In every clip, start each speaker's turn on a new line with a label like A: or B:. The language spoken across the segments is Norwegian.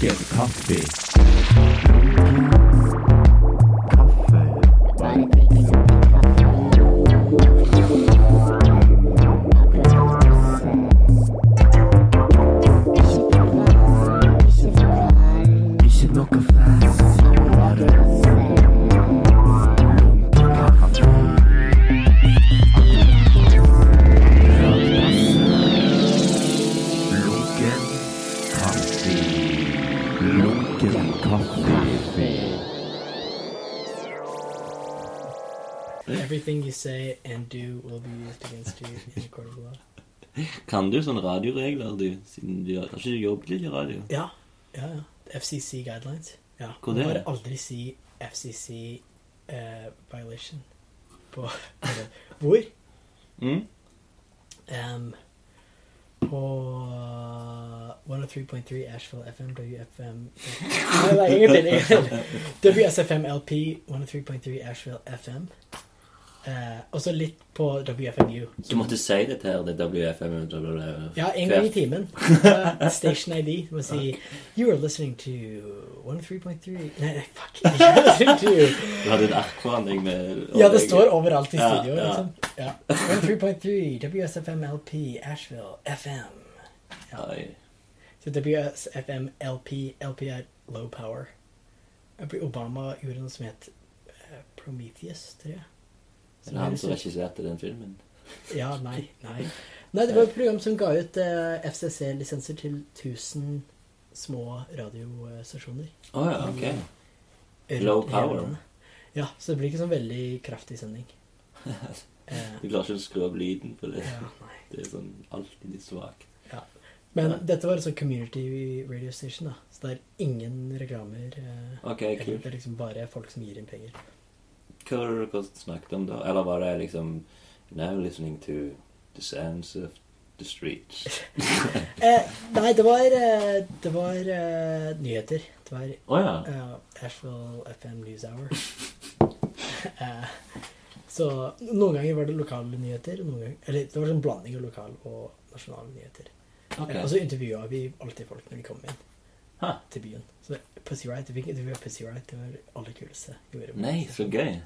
A: Kaffe. Ikke noe fast, bare kaffe. Lunken kaffe. Lunken kaffe.
B: Everything you say and do will be used against you in a court of law.
C: Kan du sånne radioregler, du? Siden du har har ikke du jobbet litt i radio?
B: Ja. ja, ja. FCC guidelines. Ja.
C: Hvor det er?
B: Bare aldri si FCC eh, violation på eller, Hvor?
C: Mm?
B: em, på 103.3 Asheville FM, WFM Nei, nei, ingenting. ingenting. WSFM LP 103.3 Asheville FM. Eh, og så litt på WFMU.
C: Du måtte si dette her, det er WFM bla, bla, bla.
B: Ja, en gang i timen. Eh, Station ID. Du må si You are listening to 103.3 Nei, nei, fuck. You are listening to
C: Du hadde et ark foran deg med
B: Ja, det står overalt i
C: Ja,
B: studio.
C: ja.
B: Liksom. Ja. 103.3 WSFM LP Asheville FM.
C: Nei.
B: Så WSFM LP LP er low power. Jeg blir- Obama gjorde noe som het eh, Prometheus, tror jeg.
C: Det var han som regisserte den filmen.
B: Ja, nei, nei. Nei, det var et program som ga ut eh, FCC-lisenser til 1000 små radiostasjoner.
C: Å ja, ok.
B: rundt
C: Low
B: hele
C: power.
B: landet. Ja, så det blir ikke sånn veldig kraftig sending. Eh,
C: Du klarer ikke å skru opp lyden på det.
B: ja, nei.
C: Det er sånn alltid litt svakt.
B: Men
C: Nei.
B: dette var en sånn community radio station, da. Så det er ingen reklamer. Eh,
C: Ok,
B: eller
C: kult.
B: det er liksom bare folk som gir inn penger.
C: Hva var det dere snakket om da? Eller var det liksom Now listening to the sounds of the streets.
B: Eh, nei, det var, eh, det var eh, nyheter. Det var
C: Å ja.
B: eh, Asheville FM News Hour. eh, så noen ganger var det lokale nyheter. og Noen ganger, eller det var sånn blanding av lokal og nasjonale nyheter.
C: Ok.
B: Og så intervjua vi alltid folk når de kom inn
C: Ha.
B: til byen. Så Pussy Riot, vi fikk intervjua Pussy Riot. Det var det aller kuleste. vi gjorde.
C: Nei, så gøy.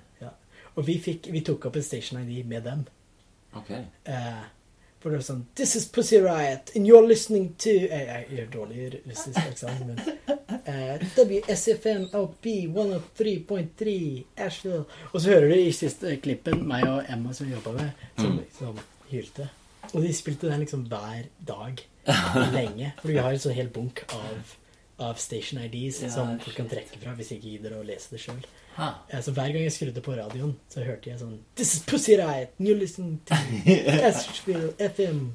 B: Og vi, fikk, vi tok opp en Station ID med dem.
C: Ok.
B: Eh, for det var sånn This is Pussy Riot, and you're listening to eh, Jeg gjør dårlig russisk aksent, men eh, WSFM LP 103.3 Asheville Og så hører du i siste klippen meg og Emma som jobba med, som,
C: Mm.
B: som hylte. Og de spilte den liksom hver dag lenge. For vi har en sånn hel bunk av, av station IDs
C: Ja,
B: som folk kan
C: shit.
B: trekke fra hvis de ikke gidder å lese det sjøl.
C: Ha.
B: Altså, hver gang jeg skrudde på radioen, så hørte jeg sånn This is Pussy Riot, you listen to Asheville FM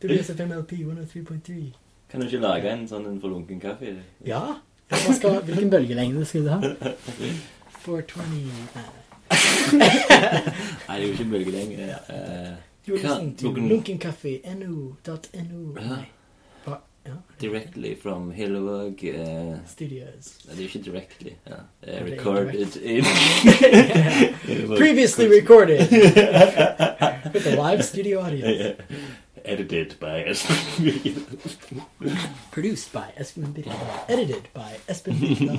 B: WSFM LP 103.3
C: Kan du ikke lage en sånn en forlunken kaffe?
B: Ja, hva skal, hvilken bølgelengde skal du ha? 420 Nei,
C: Nei, det er jo ikke bølgelenge. Eh,
B: You're
C: Hva-
B: listening to
C: hvordan-
B: Lunkencafe NO.no
C: Ja.
B: Nei, hva? Ja,
C: directly from Hillevåg eh,
B: Studios
C: Nei, det er jo ikke directly. Ja. Det
B: Ja,
C: er
B: det er
C: recorded in Hillevåg.
B: Previously recorded With a live studio audience
C: Edited by us.
B: Produced by Espen Birkedal. Edited by Espen Birkedal.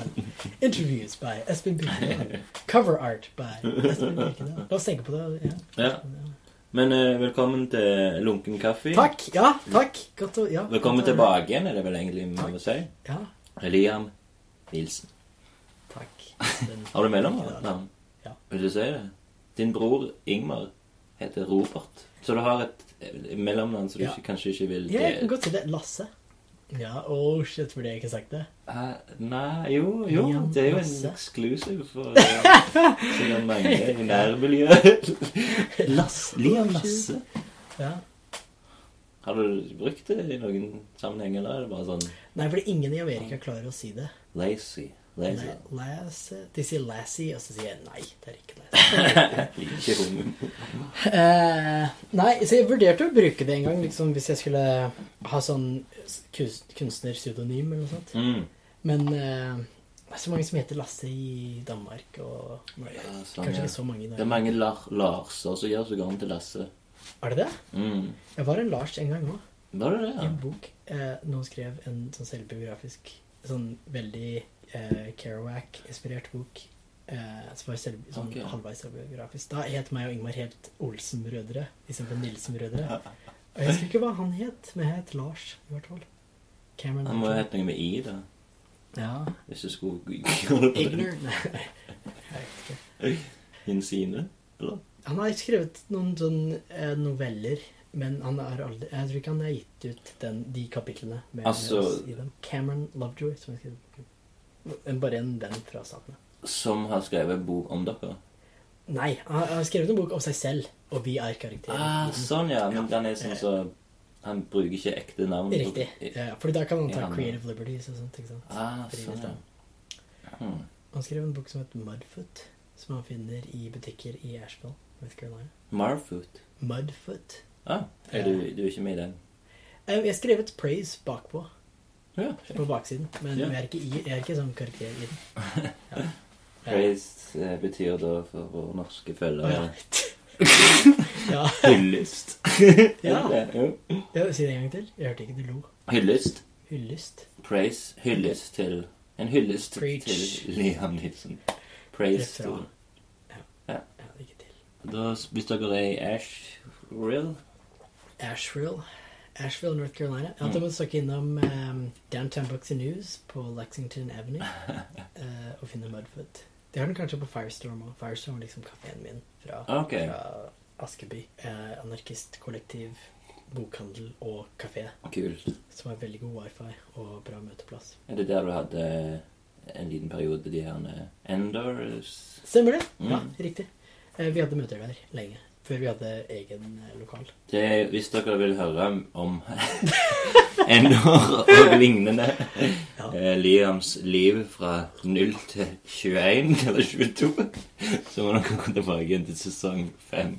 B: Interviews by Espen Birkedal. Cover art by Espen Birkedal. La oss tenke på det.
C: ja. Men eh, velkommen til Lunken kaffe.
B: Ja. Takk. Ja, takk. Godt å ja,
C: Velkommen
B: godt å-
C: tilbake igjen, er det vel egentlig vi
B: Takk.
C: må si.
B: Ja,
C: Liam Nilsen.
B: takk. Espen.
C: Har du mellomnavn?
B: Ja.
C: Vil du si det? Din bror Ingmar heter Robert. Så du har et eh, mellomnavn som du
B: Ja.
C: ikke, kanskje ikke vil
B: Ja, jeg kan
C: dele?
B: godt si det. Lasse. Ja, oh shit, burde jeg ikke sagt det?
C: Hæ? Nei, jo, jo.
B: Liam
C: Det er jo en
B: Lasse.
C: exclusive for eh, sikkert mange i nærmiljøet. Lasse, Liam Lasse.
B: Ja.
C: Har du brukt det i noen sammenheng, eller er det bare sånn
B: Nei, fordi ingen i Amerika klarer å si det.
C: lazy? Lazy.
B: Nei, Lasse. De sier Lassie, og så sier jeg nei, det er ikke Lassie.
C: Liker ikke hunden.
B: Eh, nei, så jeg vurderte å bruke det en gang, liksom, hvis jeg skulle ha sånn kus- kunstnerpseudonym eller noe sånt.
C: Mm.
B: Men eh, det er så mange som heter Lasse i Danmark og Norge.
C: Ja, sånn,
B: Kanskje
C: ja.
B: ikke så mange i
C: Det er
B: Norge.
C: mange lar Larser som gjør seg om til Lasse.
B: Er det det?
C: Mm.
B: Jeg var en Lars en gang òg,
C: Var det
B: i
C: det?
B: en bok. Eh, noen skrev en sånn selvbiografisk sånn veldig eh, Kerouac-inspirert bok. eh, som var selv, sånn
C: Ok.
B: halvveis selvbiografisk. Da het meg og Ingmar helt Olsen-brødre istedenfor Nilsen-brødre. Og jeg husker ikke hva han het, men jeg het Lars i hvert fall. Cameron
C: Han må jo
B: Mitchell.
C: hete noe med I, da.
B: Ja.
C: Hvis du skulle gjøre det på den
B: Igner? Nei, jeg vet ikke.
C: hinsine, eller?
B: Han har skrevet noen sånn eh, noveller, men han er aldri, jeg tror ikke han har gitt ut den, de kapitlene med med
C: Altså-
B: oss i dem. Cameron Lovejoy, som har skrevet boken. En- Bare en venn fra statene.
C: Som har skrevet bok om dere.
B: Nei, han har skrevet en bok om seg selv, og Mm. vi er karakterer.
C: Ah,
B: i den.
C: sånn, ja. Men
B: Ja.
C: den er sånn så Han bruker ikke ekte navn. på-
B: Riktig. Ja, fordi da kan han ta
C: Ja, men-
B: creative liberties og sånt. ikke sant?
C: Ah,
B: Fordi
C: sånn,
B: det-
C: ja. Hmm.
B: Han skrev en bok som heter Mudfoot, som han finner i butikker i Asheville, North Carolina.
C: Marfoot.
B: Mudfoot.
C: Ah, er du, du er ikke med i den?
B: Eh, Jeg har skrevet praise bakpå.
C: Ja.
B: på baksiden, men
C: Ja.
B: jeg, er ikke i, jeg er ikke sånn karakter i den. Ja.
C: Praised eh, betyr da for våre norske
B: Å, ja. ja.
C: følgere hyllest.
B: Ja.
C: Er det det? Jo.
B: ja, Si det en gang til. Jeg hørte ikke du lo.
C: Hyllest.
B: Hyllest.
C: Praise. Hyllest til En hyllest
B: Preach.
C: til Liam Nilsen. Praise
B: Det er bra.
C: til
B: Ja, ikke til.
C: Da, hvis dere er i Ashrill
B: Asheville. Asheville, North Carolina. Ja,
C: Mm.
B: Da må du søke innom ehm, Downtown Boxy News på Lexington Avenue eh, og finne Mudfoot. Det har den kanskje på Firestorm òg. Firestorm er liksom kafeen min fra,
C: Ok.
B: fra Askeby. Eh, anarkist, kollektiv, bokhandel og kafé.
C: Kult.
B: Som har veldig god wifi og bra møteplass.
C: Er det der du hadde eh, en liten periode de her eh, Enders
B: Stemmer det?
C: Mm.
B: Ja, riktig. Eh, Vi hadde møter der lenge. Før vi hadde egen eh, lokal.
C: det, Hvis dere vil høre om Endor og lignende
B: Ja.
C: eh, Liams liv fra 0 til 21 eller 22, så må dere gå tilbake igjen til sesong 5.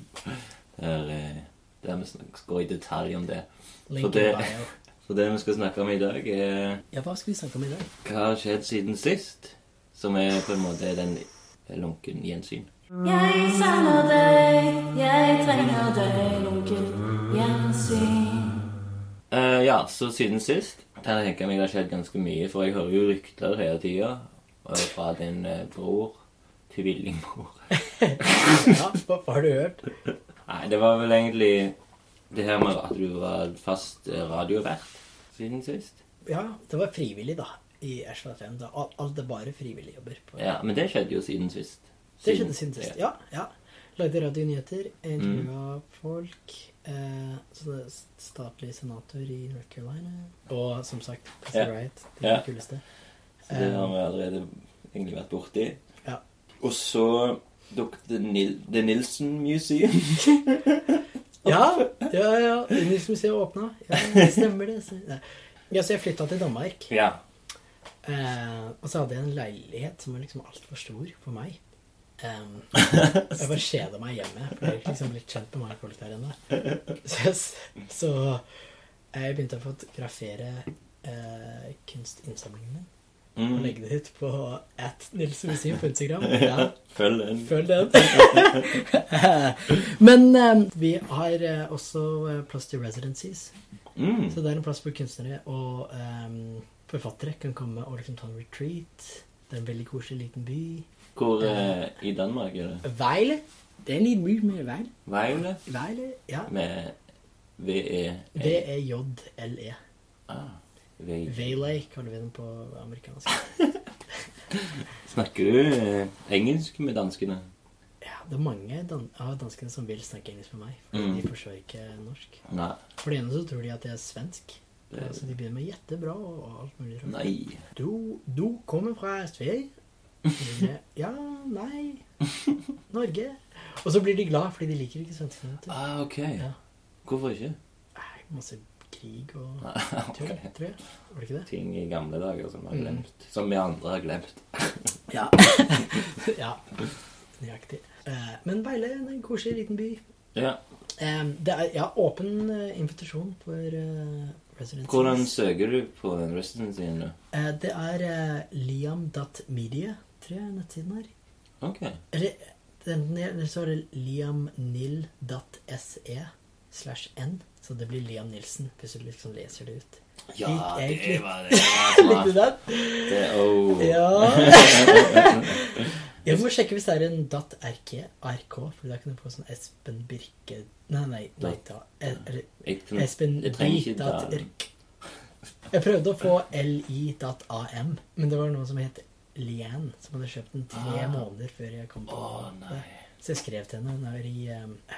C: Der, eh, der vi snak- går i detalj om det.
B: Link
C: det-
B: in bio.
C: Så det vi skal snakke om i dag, er
B: Ja, hva skal vi snakke om i dag?
C: hva har skjedd siden sist, som er på en måte den lunken gjensyn.
D: Jeg savner deg, jeg trenger deg, lunken gjensyn.
C: Eh, ja, så siden sist kan jeg tenke meg det har skjedd ganske mye, for jeg hører jo rykter hele tida eh, fra din eh, bror, tvillingbror.
B: Ja, hva, hva har du hørt?
C: Nei, det var vel egentlig det her med at du var fast eh, radiovert siden sist.
B: Ja, det var frivillig, da. I Ashford 5. Da. Al- Alt er bare frivillige jobber. På.
C: Ja, Men det skjedde jo siden sist.
B: Det skjedde siden sist. Ja. ja. Lagde radionyheter, intervjua
C: Mm.
B: folk. Eh, sånne s- statlig senator i North Carolina. Og som sagt, Pussy
C: Ja.
B: Riot. Det
C: Ja.
B: kuleste.
C: Så det har vi allerede egentlig vært borti.
B: Ja.
C: Og så dukket det Nil The Nilsen Museum.
B: Ja, ja, ja. Utenriksmuseet åpna. Ja, det stemmer det. Så- Nei. Ja, så jeg flytta til Danmark.
C: Ja.
B: Eh, og så hadde jeg en leilighet som var liksom altfor stor for meg. Em, jeg bare kjeda meg hjemme. For jeg er liksom litt kjent med mange folk der ennå. Så, jeg s- så eh, jeg begynte å fotografere eh, kunstinnsamlingen min. Og
C: Mm.
B: legge det ut på at Nils Museum på Instagram. Ja,
C: Følg den.
B: Følg den. Men eh, vi har eh, også eh, plass til residencies.
C: Mm.
B: Så det er en plass hvor kunstnere og eh, forfattere kan komme og liksom ta en retreat. Det er en veldig koselig liten by.
C: Hvor eh, i Danmark er det?
B: Vejle. Det er en liten by med Vejle.
C: Vejle
B: Vejle, ja.
C: med E, VE.
B: V-E-J-L-E.
C: Ah, VE.
B: E. Vejle, kaller vi den på amerikansk.
C: Snakker du eh, engelsk med danskene?
B: Ja, det er mange dan av danskene som vil snakke engelsk med meg. For
C: Mm.
B: de forstår ikke norsk.
C: Nei.
B: For det ene så tror de at jeg er svensk.
C: Det-
B: Så de begynner med 'jettebra' og og alt mulig rart.
C: Nei.
B: Du, du kommer fra Sverige? Sier jeg, Ja, nei Norge. Og så blir de glad, fordi de liker ikke svenskene. vet du.
C: Ah, ok.
B: Ja.
C: Hvorfor ikke?
B: Nei, Masse krig og
C: Ah,
B: tull,
C: ok.
B: tror jeg. Var det ikke det?
C: Ting i gamle dager som vi har
B: Mm.
C: glemt. Som vi andre har glemt.
B: Ja. ja. Nøyaktig. Eh, Men Beile er en koselig liten by.
C: Ja.
B: Eh, Det er ja, åpen eh, invitasjon for eh, residencies.
C: Hvordan søker du på den residencyen nå?
B: Eh, Det er eh, liam.media, tror jeg nettsiden er.
C: Ok.
B: Eller den- den- så er det liamnil.se. E slash N. Så det blir Liam Nilsen, hvis du liksom leser det ut.
C: Ja,
B: Litt
C: det
B: egentlig.
C: var det. var
B: Likte du
C: smart.
B: den?
C: Det, oh.
B: Ja. Jeg må sjekke hvis det er en datt RK, RK, for da kan du få sånn Espen Birke Nei, nei, nei da. Eh, Eller
C: Jeg, kan-
B: Espen
C: jeg trenger ikke
B: datt
C: den.
B: Irk. Jeg prøvde å få li.am, men det var noen som het Lian, som hadde kjøpt den tre
C: Ah.
B: måneder før jeg kom på
C: Å, nei.
B: Så jeg skrev til henne. Hun er i eh,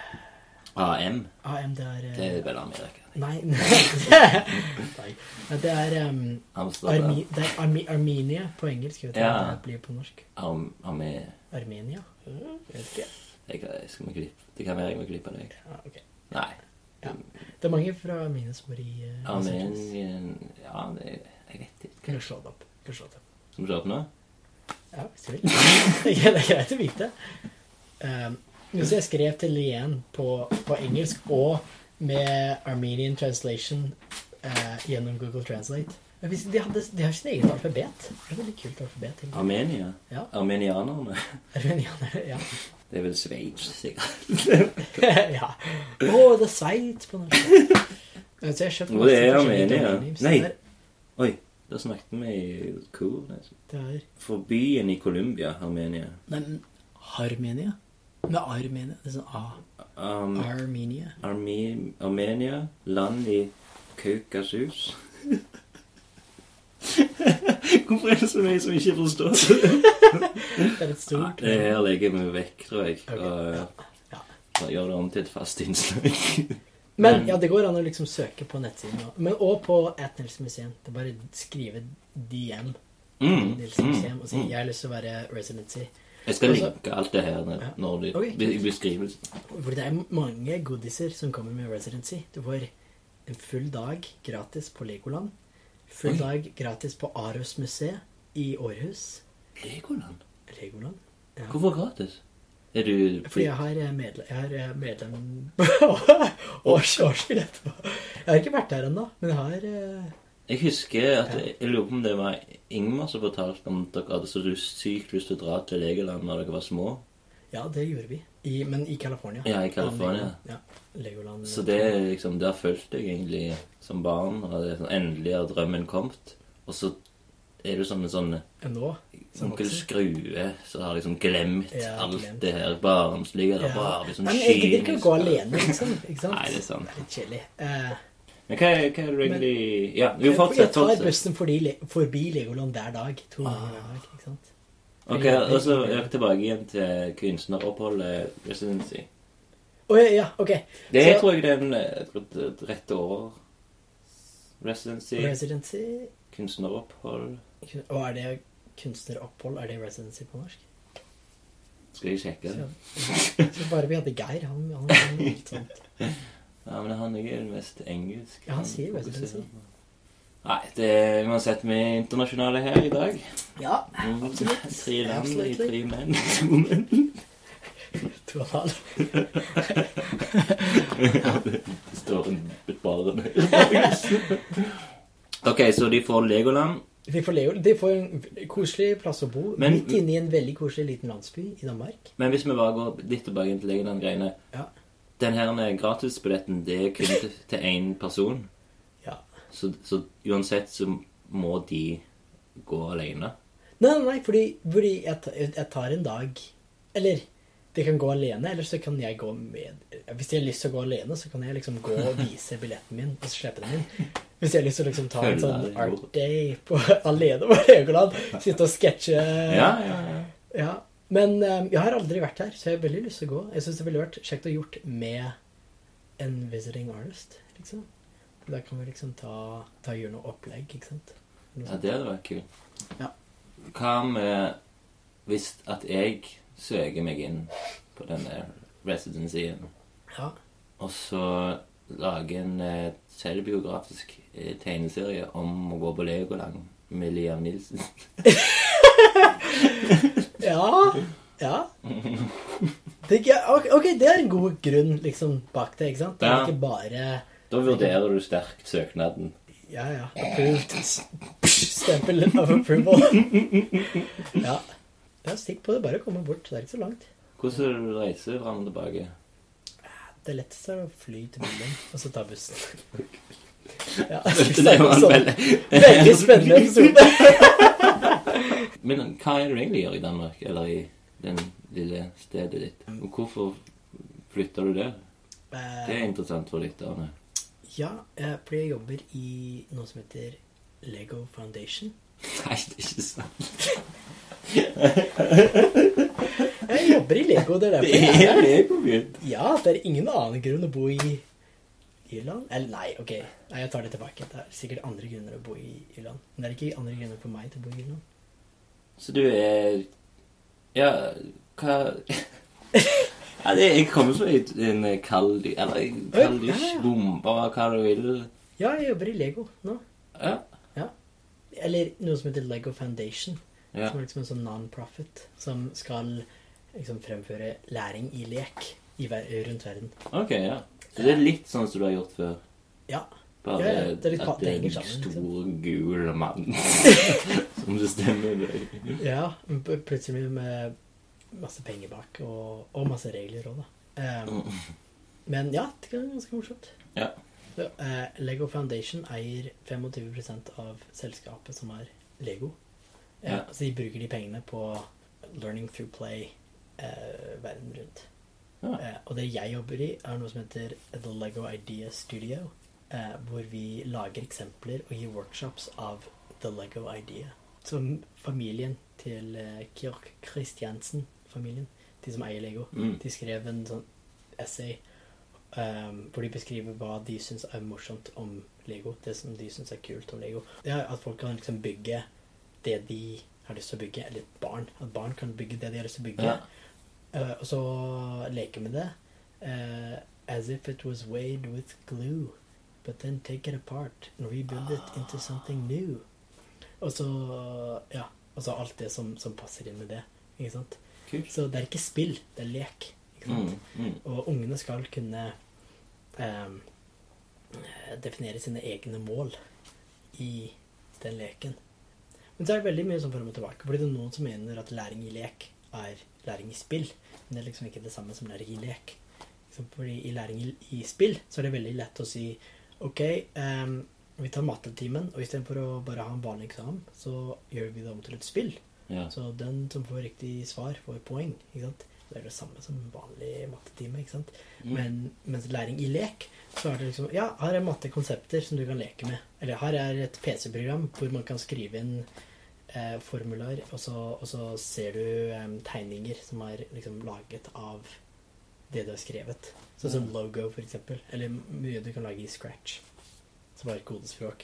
C: AM.
B: AM, det er eh,
C: Det er vel Amerika.
B: Nei, nei. Nei, Det er eh,
C: Amsterdam.
B: Armi, det er Armi, Armenia på engelsk. Vet du
C: Ja.
B: hva det blir på norsk?
C: Arm, Arme-
B: Armenia? Mm, Vet ikke.
C: Jeg, jeg skal må klippe. Det kan være jeg må klippe deg.
B: Ja, ok.
C: Nei.
B: Ja. Det er mange fra Armenia som bor i eh, Los Angeles.
C: Armenien Ja, det, jeg vet ikke.
B: Kan du slå det opp? Kan du slå det opp?
C: Skal vi se opp nå?
B: Ja, hvis du vil. Det er greit å vite. Um, så jeg skrev til Lien på, på engelsk og med Armenian translation eh, gjennom Google Translate. Men hvis- De, hadde, de har sin egen alfabet. Det er et veldig kult alfabet. egentlig.
C: Armenia?
B: Ja.
C: Armenianerne?
B: Armenianere, ja.
C: Det er vel Sveits, sikkert.
B: ja. Å, det er Sveits på norsk. Men Så jeg kjøpte
C: Hvor
B: masse
C: er
B: forskjellige
C: Armenia?
B: domainnames.
C: Nei.
B: Det er-
C: Oi, da snakket vi i kor. liksom. nesten.
B: Det er
C: For byen i Colombia, Armenia
B: Nei, men Armenia? Med Armenia? Det er sånn A.
C: Arm,
B: Armenia.
C: Arme, Armenia, land i Kaukasus. Hvorfor er det så mye som ikke forstår det?
B: Det er et
C: Nei,
B: stort
C: det her legger vi vekk, tror jeg.
B: Ok,
C: Og,
B: ja.
C: og gjør det om til et fast innslag.
B: Men ja, det går an å liksom søke på nettsiden òg. Men òg på At Nilsen Museum. Det er bare å skrive DM til
C: Mm,
B: Nilsen Museum og si
C: mm.
B: 'Jeg har lyst til å være residency'.
C: Jeg skal
B: Altså-
C: linke alt det her når- når du,
B: Ok.
C: i beskrivelsen.
B: For det er mange godiser som kommer med residency. Du får en full dag gratis på Legoland. Full
C: Oi.
B: dag gratis på Aros museet i Århus.
C: Legoland?
B: Legoland. Ja.
C: Hvorfor gratis? Er du
B: Fordi jeg har eh, medlem, jeg har eh, medlem års, årsbillett. Jeg har ikke vært der ennå, men jeg har eh,
C: Jeg husker at jeg, jeg lurer på om det var Ingmar som fortalte om at dere hadde så sykt lyst til å dra til Legoland når dere var små.
B: Ja, det gjorde vi. I, men i California.
C: Ja, i California.
B: Ja, Legoland.
C: Så det er liksom, der følte jeg egentlig som barn. Og det er sånn, endelig har drømmen kommet. Og så er du som en sånn
B: Nå. som
C: onkel
B: sånn voksen.
C: Skrue som har liksom glemt
B: Ja,
C: alt
B: glemt.
C: det her barnslige. Det er bare liksom
B: Nei, men jeg gidder ikke å
C: kynisk.
B: gå alene, liksom. Ikke sant?
C: Nei, det er sant.
B: Det er litt kjedelig. Eh,
C: Men hva, er- hva er det egentlig Ja, jo,
B: Jeg-
C: fortsett.
B: Jeg tar
C: fortsett. Ah.
B: bussen forbi, Le- forbi Legoland hver dag. To ganger hver dag, ikke sant?
C: Ok, og så er jeg tilbake igjen til kunstneroppholdet residency.
B: Å ja, ja, ok.
C: Det
B: Så-
C: tror jeg det er en, et, et, et rette år. Residency,
B: Residency
C: kunstneropphold.
B: Og er det kunstneropphold? Er det residency på norsk?
C: Skal jeg sjekke det?
B: Så, så bare vi hadde Geir, han, han, han alt sånt.
C: Ja, men han er jo den mest engelsk.
B: Ja, han sier residency.
C: fokuserer på. Nei, det er uansett vi er internasjonale her i dag.
B: Ja,
C: Mm,
B: absolutt.
C: Tre land i
B: Absolutely.
C: tre menn. To menn.
B: to og en halv.
C: Det står en bare der. Ok, så de får Legoland.
B: De får, Leo, de får en koselig plass å bo
C: Men-
B: midt inne i en veldig koselig liten landsby i Danmark.
C: Men hvis vi bare går litt tilbake til Legoland-greiene
B: Ja.
C: Den her med gratisbilletten, det er kun til- til én person.
B: Ja.
C: Så, så uansett så må de gå alene.
B: Nei, nei, nei, fordi, fordi jeg, ta- jeg tar en dag Eller det kan gå alene, eller så kan jeg gå med Hvis jeg har lyst til å gå alene, så kan jeg liksom gå og vise billetten min, og så slippe den inn. Hvis jeg har lyst til å liksom ta en
C: Følg
B: sånn
C: deg, jo.
B: art day på, alene på Legoland, sitte og sketsje
C: Ja, ja, ja.
B: Ja. Men eh, jeg har aldri vært her, så jeg har veldig lyst til å gå. Jeg syns det ville vært kjekt å gjort med en visiting artist, liksom. Da kan vi liksom ta, ta gjøre noe opplegg, ikke sant. Noe
C: ja
B: sånt.
C: det hadde vært kult.
B: Ja.
C: Hva med hvis at jeg søker meg inn på den der residencyen,
B: Ja.
C: og så lager en eh, selvbiografisk eh, tegneserie om å gå på Legoland med Liam Nilsen?
B: Ja. ja. Det, ja, ok, ok, det er en god grunn liksom, bak det. ikke sant? Det er
C: Ja.
B: ikke bare
C: Da vurderer du sterkt søknaden.
B: Ja, ja. Approved. S- Stempel of approval. Ja. ja. Stikk på det. Bare å komme bort. Det er ikke så langt.
C: Hvordan reiser du fram og tilbake?
B: Det letteste er å fly til London og så ta bussen. Ja,
C: Det var en
B: sånn.
C: veldig,
B: Veldig spennende episode.
C: Men hva er det du egentlig gjør i Danmark, eller i den lille stedet ditt? Og hvorfor flytter du der? Det er
B: Eh,
C: interessant for lytterne.
B: ja, eh, fordi jeg jobber i noe som heter Lego Foundation.
C: Nei, det er ikke sant.
B: Jeg jobber i Lego, det er derfor
C: Det
B: jeg er
C: er
B: her.
C: legobyen.
B: Ja, det er ingen annen grunn å bo i Irland. Eller nei, ok. Nei, jeg tar det tilbake. Det er sikkert andre grunner å bo i Irland. Men det er ikke andre grunner for meg til å bo i Irland.
C: Så du er Ja, hva ja, det, Jeg kommer fra et- en kald Eller en
B: Ja,
C: kalddusj,
B: ja.
C: bomber, hva du vil.
B: Ja, jeg jobber i Lego nå.
C: Ja.
B: Eller noe som heter Lego Foundation.
C: ja.
B: Som er liksom en sånn non-profit som skal liksom fremføre læring i lek i ver rundt verden.
C: Ok, ja. Så det er litt sånn som du har gjort før?
B: Ja.
C: Bare
B: Ja, ja, det er litt pa-
C: at det er
B: det
C: en
B: henger sammen, liksom.
C: stor, gul mann som bestemmer deg.
B: ja men pl- plutselig med masse penger bak, og, og masse regler òg, da. Ehm, men ja, det er ganske morsomt.
C: Mm. Ja.
B: Så, eh, Lego Foundation eier 25 av selskapet som er Lego. Eh,
C: Ja.
B: Så de bruker de pengene på Learning through play eh, verden rundt.
C: Ja.
B: Eh, og det jeg jobber i, er noe som heter The Lego Idea Studio. Eh, hvor vi lager eksempler og gir workshops av The Lego Idea. Som familien til eh, Kirk Christiansen-familien, de som eier Lego,
C: Mm.
B: de skrev en sånn essay um, hvor de beskriver hva de syns er morsomt om Lego. Det som de syns er kult om Lego. Det er at folk kan liksom bygge det de har lyst til å bygge. Eller barn. At barn kan bygge det de har lyst til å bygge.
C: Ja.
B: Eh, og så leke med det. Eh, as if it was weighed with glue. But then take it apart and rebuild it into something new. Og så Ja. Og så alt det som, som passer inn med det. Ikke sant?
C: Kult.
B: Så det er ikke spill, det er lek. Ikke sant?
C: Mm, mm.
B: Og ungene skal kunne ehm, definere sine egne mål i den leken. Men så er det veldig mye sånn fram og tilbake. Fordi det er noen som mener at læring i lek er læring i spill. Men det er liksom ikke det samme som læring i lek. Liksom, Fordi i læring i, i spill så er det veldig lett å si OK, ehm, vi tar mattetimen, og istedenfor å bare ha en vanlig eksamen, så gjør vi det om til et spill.
C: Ja.
B: Så den som får riktig svar, får poeng. ikke sant? Det er det samme som en vanlig mattetime. ikke sant?
C: Mm.
B: Men mens læring i lek, så er det liksom Ja, her er mattekonsepter som du kan leke med. Eller her er et PC-program hvor man kan skrive inn eh, formular, og så, og så ser du eh, tegninger som er liksom laget av det du har skrevet. Sånn som logo, for eksempel. Eller mye du kan lage i scratch. Som er et kodespråk.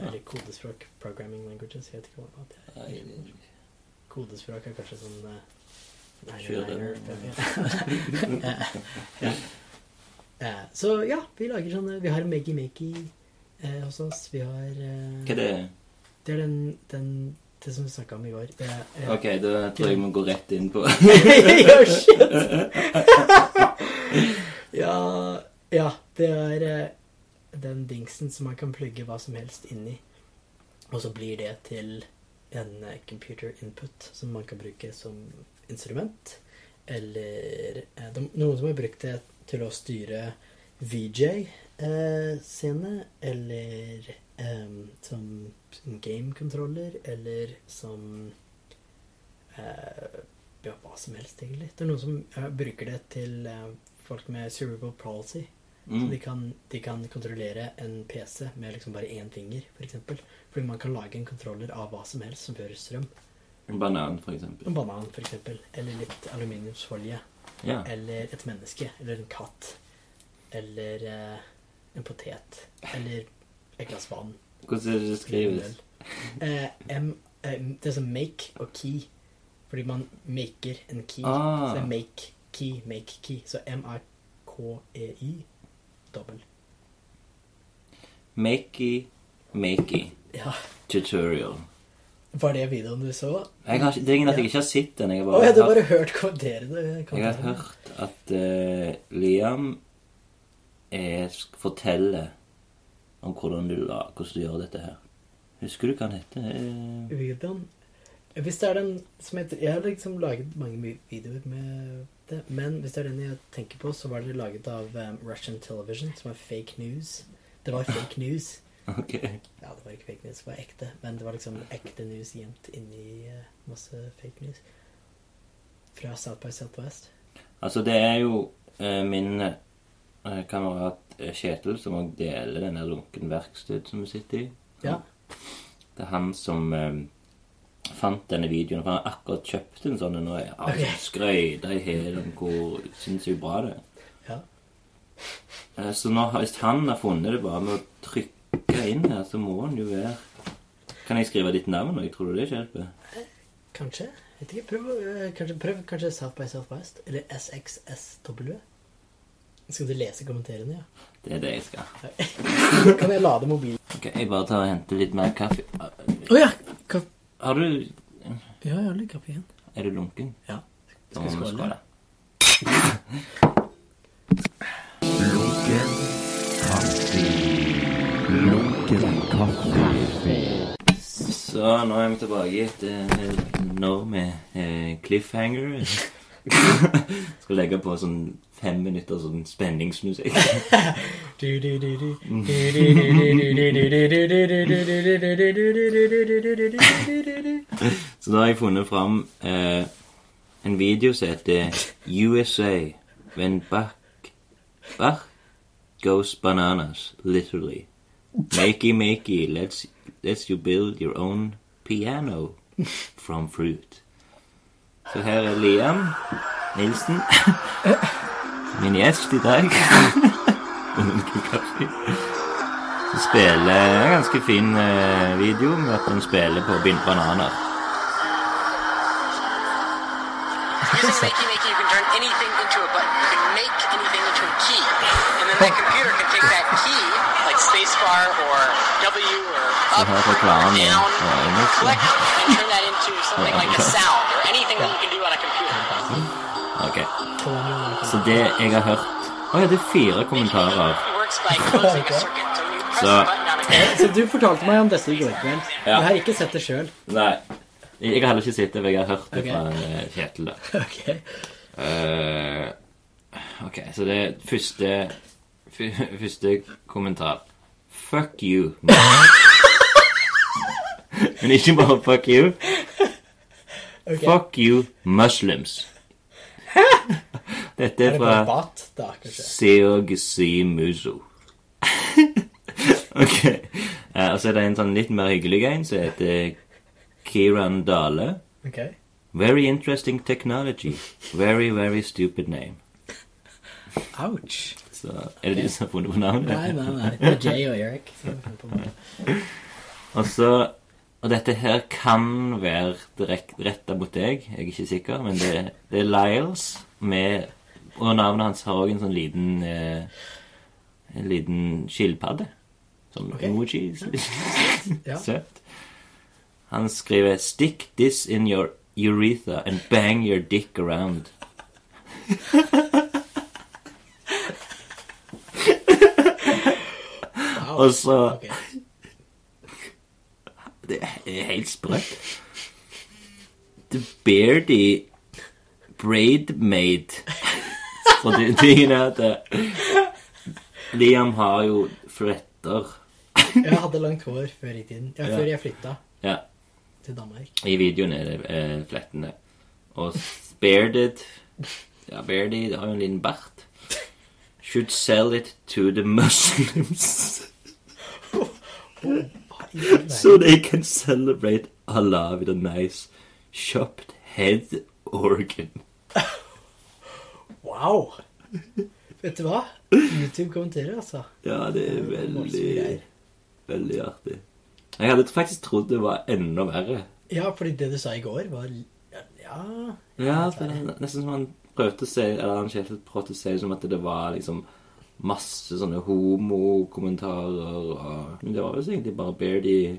B: Eller kodespråk. Programming languages. Jeg vet ikke hva det er.
C: Nei, det-
B: Kodespråk er kanskje sånn eh,
C: Kjøre.
B: 99er, fem- ja. Ja. Eh, Så ja, vi lager sånne Vi har Maggie Makey eh, hos oss. Vi har eh,
C: Hva er det?
B: Det er den, den Det som vi snakka om i går. Det er, eh,
C: Ok, da tror jeg vi må gå rett inn på
B: ja, Oh, shit! ja, ja, det er eh, den dingsen som man kan plugge hva som helst inn i. Og så blir det til en eh, computer input som man kan bruke som instrument. Eller eh, de, noen som har brukt det til å styre VJ-scene, eller eh, som gamekontroller, eller som eh, ja, hva som helst, egentlig. Det er noen som eh, bruker det til eh, folk med cerebral palsy. Så
C: Mm.
B: de kan, de kan kontrollere en PC med liksom bare én finger, f.eks. For eksempel. Fordi man kan lage en kontroller av hva som helst som fører strøm.
C: en banan, for eksempel.
B: En banan, f.eks. Eller litt aluminiumsfolje.
C: Ja.
B: Eller et menneske. Eller en katt. Eller eh, en potet. Eller et glass vann.
C: Hvordan er det det skrives?
B: Eh, M, eh, det er sånn make og key. Fordi man maker en key.
C: Ah.
B: Så det er make key, make key. Så M-A-K-E-I E dobbel.
C: Makey, makey.
B: Ja.
C: Tutorial.
B: Var det videoen du så?
C: Jeg har, ikke- det er ingen at jeg ikke har sett den. Jeg har
B: Å, jeg hadde
C: bare,
B: bare hørt kommentere det.
C: hørt, jeg har hørt at eh, Liam eh, sk- forteller om hvordan du, la- hvordan du gjør dette her. Husker du hva han heter? Eh,
B: Videoen Hvis det er den som heter Jeg har liksom laget mange vi- videoer med det, men hvis det er den jeg tenker på, så var det laget av um, Russian Television, som var fake news. Det var fake news.
C: Ok.
B: Ja, det var ikke fake news, det var ekte. Men det var liksom ekte news gjemt inni eh, masse fake news. Fra South by Southwest.
C: Altså, det er jo eh, min eh, kamerat eh, Kjetil som òg deler denne lunken verksted som vi sitter i.
B: Ja.
C: Det er han som eh, fant denne videoen. For han har akkurat kjøpt en sånn en og er
B: Ok.
C: altså, skrøyta i hælen om hvor sinnssykt bra det er.
B: Ja.
C: Eh, så nå, har- hvis han har funnet det bare med å trykke inn her, så må han jo være Kan jeg skrive ditt navn òg? Tror du det hjelper?
B: Kanskje. Vet ikke. Prøv, eh, kanskje, prøv kanskje South by Southwest. Eller SXSW. Skal du lese kommenterene, ja?
C: Det er det jeg skal.
B: Kan jeg lade mobilen?
C: Ok, Jeg bare tar og henter litt mer kaffe.
B: Å ja! Ka
C: Har du
B: ja, jeg har litt kaffe igjen.
C: Er du lunken?
B: Ja.
C: Da må vi
B: skåle?
C: skåle.
A: Lunken kaffe. Lunken kaffe.
C: Så nå er vi tilbake etter nå med eh, cliffhanger. Skal legge på sånn fem minutter sånn spenningsmusikk.
B: Å
C: Så da har jeg funnet fram eh, en video som heter USA When Bach, Bach Goes Bananas, literally. Makey, makey, let's, let's you build your own piano from fruit. Så her er Liam Nilsen, min gjest i dag. Så spiller er en ganske fin eh, video med at han spiller på bind- bananer.
E: Using Makey Makey, you can turn anything into a button. You can make anything into a key. And then
C: Oh.
E: the computer can take that key, like spacebar or W or up
C: have a
E: or
C: clown and-
E: down,
C: oh, I know.
E: click, and turn that into something like a sound or anything that you can do on a computer.
C: Ok, så det jeg har hørt Å ja, det er fire kommentarer.
E: It works by closing a circuit. So when you press
C: So-
E: a button on a computer,
B: Så du fortalte meg om dette i går kveld.
C: Ja.
B: Jeg har ikke sett det sjøl.
C: Nei. Jeg har heller ikke sett det, men jeg har hørt det
B: Ok.
C: fra eh, Kjetil. da.
B: Okay.
C: Eh, ok, så det er første fy- Første kommentar. Fuck you. Men ikke bare fuck you. Fuck you, Muslims. Dette
B: Er
C: er
B: det bare
C: fra
B: bat, da, kanskje?
C: Seog Simuzo. ok. Eh, og så er det en sånn litt mer hyggelig en som heter Kiran Dale.
B: Ok.
C: Very interesting technology. Very, very stupid name.
B: Ouch.
C: Så er det du som har funnet på navnet?
B: Nei, nei, nei. Det er Jay og Eric. som har funnet på det.
C: Og så Og dette her kan være direkte retta mot deg, jeg er ikke sikker, men det, det er Lyles med Og navnet hans har òg en sånn liten eh, En liten skilpadde. Sånn
B: Ok.
C: emoji. så litt
B: Ja.
C: Søt. Han skriver 'Stick this in your urethra and bang your dick around'.
B: Wow.
C: Og så
B: Ok.
C: Det er helt sprøtt. The Beardy Braidmaid. For det tingen er at eh, Liam har jo fletter
B: Jeg hadde langt hår før i tiden. Ja,
C: Ja.
B: før jeg flytta
C: Ja,
B: til Danmark.
C: i videoen er det eh, flettene. Og Bearded Ja, Beardy det har jo en liten bart. Should sell it to the Muslims
B: Hva i all verden?
C: so they can celebrate Allah with a nice chopped head organ.
B: Wow! Vet du hva? YouTube kommenterer, altså.
C: Ja, det
B: Det
C: er
B: er voldsomme
C: veldig
B: greier.
C: Veldig artig. Jeg hadde faktisk trodd det var enda verre.
B: Ja, fordi det du sa i går, var Ja,
C: Ja, for det er Nesten som han prøvde å si Eller han Kjetil prøvde å si som at det var liksom masse sånne homokommentarer og Men det var visst egentlig bare Beardy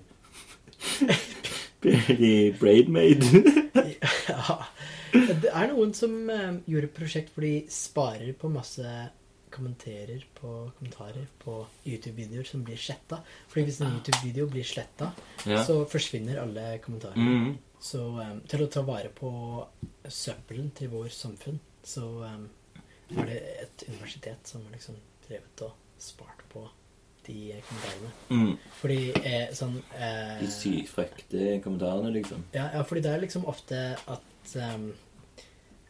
C: Beardy Braidmaid.
B: ja. Det er noen som eh, gjorde et prosjekt hvor de sparer på masse kommenterer på kommentarer på YouTube-videoer som blir sletta. Fordi hvis en YouTube-video blir sletta,
C: Ja.
B: så forsvinner alle kommentarer.
C: Mhm.
B: Så eh, til å ta vare på søppelen til vår samfunn, så eh, er det et universitet som har liksom drevet og spart på de eh, kommentarene.
C: Mm.
B: Fordi eh, sånn eh,
C: De sykt frekte kommentarene, liksom.
B: ja, ja, fordi det er liksom ofte at ehm,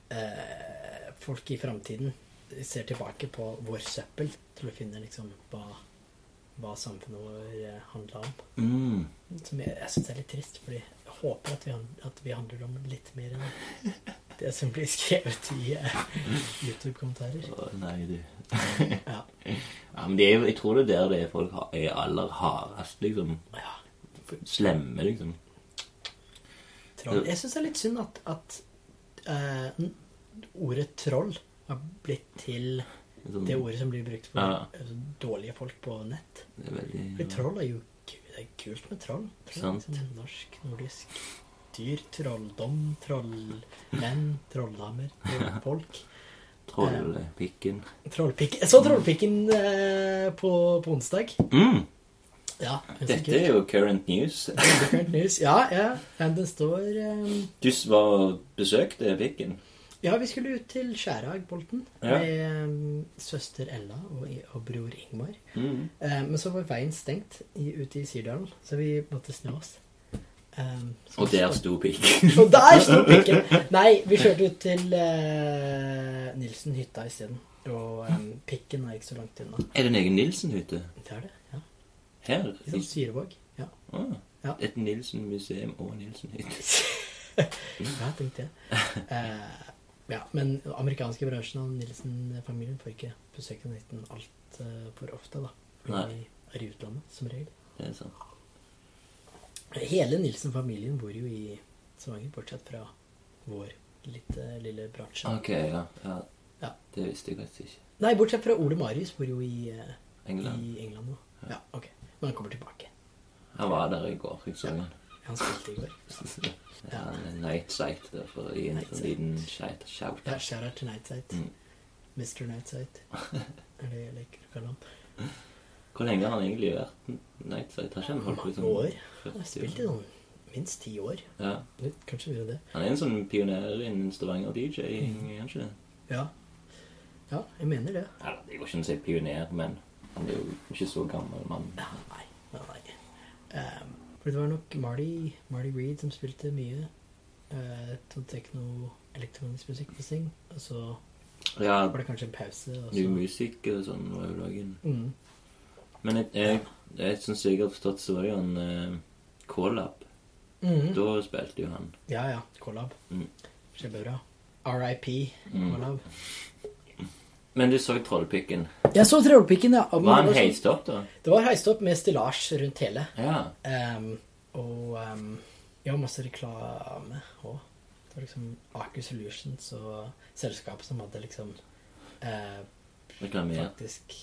B: eh, folk i framtiden ser tilbake på vår søppel til å finne liksom hva, hva samfunnet vår handla om.
C: Mm.
B: Som jeg, jeg syns er litt trist, fordi jeg håper at vi, han- at vi handler om litt mer enn det som blir skrevet i eh, YouTube-kommentarer.
C: Å, nei, du.
B: Ja.
C: Ja, men det er, jo- jeg tror det er der det er folk har- er aller hardest, liksom.
B: ja.
C: Slemme, liksom.
B: Troll. Jeg syns det er litt synd at, at eh, n- ordet troll har blitt til
C: Sånn,
B: det ordet som blir brukt for
C: Ja.
B: altså, dårlige folk på nett.
C: Det er veldig...
B: For troll er jo ku- det er kult med troll. troll er
C: Sant.
B: liksom norsk, nordisk dyr. Trolldom, trollmenn, trolldamer, trollfolk.
C: Trollpikken.
B: Trollpikk. Jeg så Trollpikken eh, på, på onsdag.
C: Mm.
B: Ja, jeg
C: Dette er jo current news.
B: Current news. Ja, ja. Men den står eh,
C: Du var og besøkte pikken.
B: Ja, vi skulle ut til Skjærag, Bolten,
C: Ja.
B: med eh, søster Ella og, og bror Ingmar.
C: Mm.
B: Eh, men så var veien stengt i, ute i Sirdalen, så vi måtte snø oss. Um, så
C: Og
B: vi
C: der
B: stod-
C: sto pikken.
B: Og der sto pikken! Nei, vi kjørte ut til eh, Nilsen-hytta isteden. Og eh, pikken er ikke så langt unna.
C: Er det en egen Nilsen-hytte?
B: Det er det. ja.
C: Her?
B: Litt sånn Syrevåg. Ja.
C: Ah.
B: Ja.
C: Et Nilsen-museum og Nilsen-hytte.
B: Ja, tenkte jeg. Eh, ja, men den amerikanske bransjen av Nilsen-familien får ikke besøke den hytten altfor ofte, da. Fordi
C: Nei.
B: de er i utlandet, som regel.
C: Det er sant.
B: Hele Nilsen-familien bor jo i Stavanger, bortsett fra vår litt, eh, lille bransje.
C: Ok, ja. ja.
B: Ja.
C: Det visste jeg faktisk ikke.
B: Nei, bortsett fra Ole Marius bor jo i, eh,
C: England.
B: i England nå. Ja, ok. Men han kommer tilbake.
C: Han var der i går. Jeg så han.
B: Han spilte i går.
C: Ja, han er nightsight der for å gi en sånn
B: Nightsight.
C: liten shout- shout.
B: Ja, Shout-out til Nightside.
C: Mm.
B: Mr. Nightside. Er det jeg liker å kalle ham.
C: Hvor lenge har han egentlig vært nightsight? Har ikke han holdt på i
B: Mange
C: sånn
B: år.
C: 40
B: Han har spilt i sånn minst ti år.
C: Ja.
B: Litt, Kanskje mer enn det.
C: Han er en sånn pioner innen Stavanger-DJ, er han ikke det?
B: Ja. ja, jeg mener det.
C: Eller, det går ikke an å si pioner, men han er jo ikke så gammel mann.
B: Ja, nei, nei, nei. Ehm, for det var nok Marty, Marty Reed som spilte mye eh, sånn tekno, elektronisk musikk på Sing. Og så
C: Ja,
B: var det kanskje en pause. Og
C: ny
B: så,
C: musikk og sånn var jo dagen.
B: mm,
C: Men jeg, jeg, jeg syns jeg har forstått så var jo han eh, Collab.
B: mm,
C: Da spilte jo han.
B: ja, ja. Collab.
C: Mm.
B: Kjempebra. RIP. Collab.
C: Men du så Trollpikken.
B: Jeg så Trollpikken, ja. men
C: Var
B: det
C: han
B: sånn-
C: heist opp, da?
B: Det var heist opp med stillasj rundt hele.
C: Ja.
B: Ehm, og ehm, ja, masse reklame òg. Det var liksom Aker Solutions og selskapet som hadde liksom eh,
C: Reklamer.
B: faktisk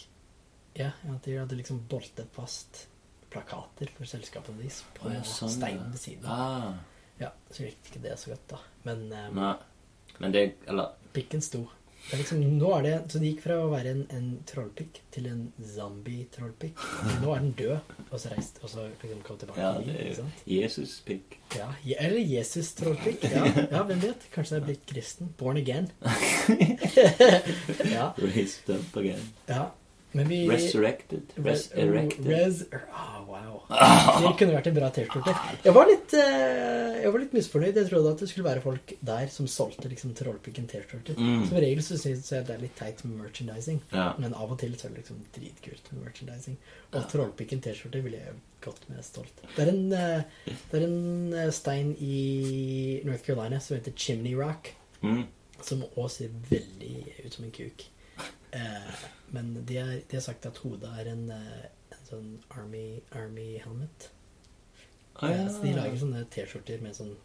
B: Ja, ja, de hadde liksom boltet fast plakater for selskapene deres på
C: Å, ja, sånn, ja.
B: steinen ved siden av.
C: Ah,
B: Ja, så likte ikke det så godt, da. Men ehm,
C: nei. Men det Eller
B: pikken sto. Det er liksom, nå er det, så det gikk fra å være en, en trollpikk til en zombie-trollpikk. Nå er den død, og så reist, og så liksom kom tilbake.
C: Ja,
B: til liv,
C: det er
B: ikke
C: jo
B: sant?
C: Jesus-pikk.
B: Ja, je- eller Jesus trollpikk. Ja, ja, hvem vet? Kanskje han er blitt kristen. Born again. ja,
C: Raised up again.
B: ja. Men vi
C: Resurrected. Resurrected.
B: Res... ah, wow. Det kunne vært en bra T-skjorte. Jeg var litt eh, Jeg var litt misfornøyd. Jeg trodde at det skulle være folk der som solgte liksom trollpikken T-skjorter.
C: Mm.
B: Som regel så syns jeg det er litt teit med merchandising.
C: Ja.
B: Men av og til så er det liksom dritkult med merchandising. Og trollpikken T-skjorte ville jeg gått med stolt. Det er en, eh, det er en eh, stein i North Carolina som heter Chimney Rock.
C: Mm.
B: Som òg ser veldig ut som en kuk. Eh, men de har, de har sagt at hodet er en, eh, en sånn Army, Army helmet.
C: Ah,
B: Eh, Så de lager
C: ja.
B: sånne T-skjorter med sånn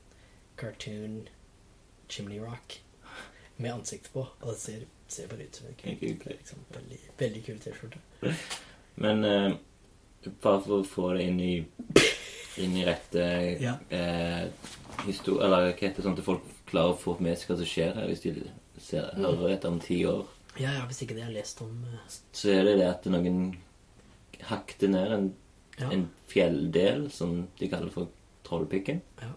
B: cartoon Chimney Rock med ansiktet på. Og det ser, ser bare ut som en kuk.
C: En kuk, ja.
B: Liksom, veldig, veldig kul T-skjorte.
C: Men eh, bare for å få det inn i, inn i rette
B: Ja.
C: eh, histor- Eller hva heter det, sånn at folk klarer å få med seg hva som skjer her hvis de ser, hører etter om ti år.
B: Ja, ja, hvis ikke det jeg har lest om eh,
C: Så er det det at noen hakte ned en,
B: Ja.
C: en fjelldel, som de kaller for Trollpikken.
B: Ja.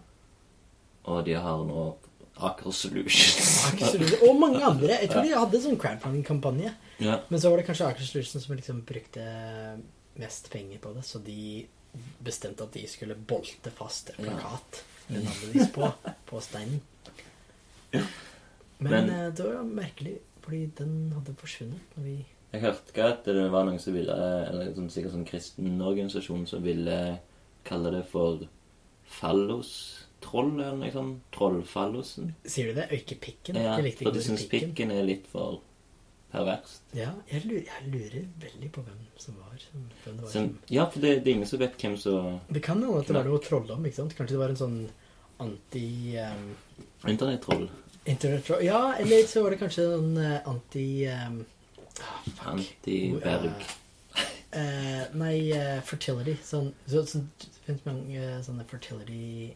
C: og de har nå Aker Solutions.
B: Akershus- Og mange andre. Jeg tror de hadde sånn crowdfunding-kampanje.
C: ja.
B: Men så var det kanskje Akershus som liksom brukte mest penger på det, så de bestemte at de skulle bolte fast en plakat med navnet deres på, på steinen. Men,
C: Men-
B: eh, det var jo merkelig, fordi den hadde forsvunnet når vi
C: Jeg hørte ikke at det var noen som ville Eller sånn, sikkert sånn kristen organisasjon som ville kalle det for fallos-troll, eller noe sånt. Trollfallosen.
B: Sier du det? Og ikke pikken?
C: Ja,
B: jeg likte ikke
C: for de
B: ordet
C: syns
B: pikken.
C: pikken er litt for perverst.
B: Ja, jeg lurer, jeg lurer veldig på hvem som var som, hvem det var som
C: Som, Sånn, ja, for det, det er ingen som vet hvem som
B: Det kan hende at det var noe trolldom, ikke sant? Kanskje det var en sånn anti um,
C: Internettroll.
B: Internettroll Ja, eller så var det kanskje en eh, anti um, Fuck.
C: Antiberg.
B: Eh, nei, eh, fertility. Sånn, så, sånn, det finnes mange eh, sånne fertility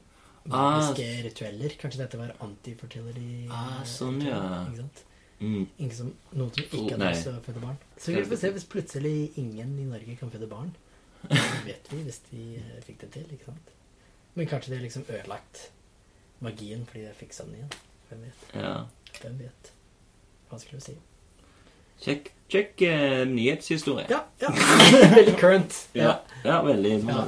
C: Ah,
B: Magiske ritualer. Kanskje dette var anti-fertility.
C: Ah,
B: eh,
C: sånn,
B: ritual,
C: ja.
B: Ikke sant?
C: Mm.
B: Ingen som, noen som ikke
C: Oh,
B: hadde
C: nei.
B: lyst til å føde barn. Så vi får se hvis plutselig ingen i Norge kan føde barn. Det vet vi hvis de eh, fikk det til, ikke sant? Men kanskje de har liksom ødelagt magien fordi de fiksa den igjen. Hvem vet?
C: Ja.
B: Hvem vet? Vanskelig å si.
C: Sjekk, sjekk eh, nyhetshistorie.
B: Ja, ja. Veldig current.
C: ja. ja, veldig.
B: Ja.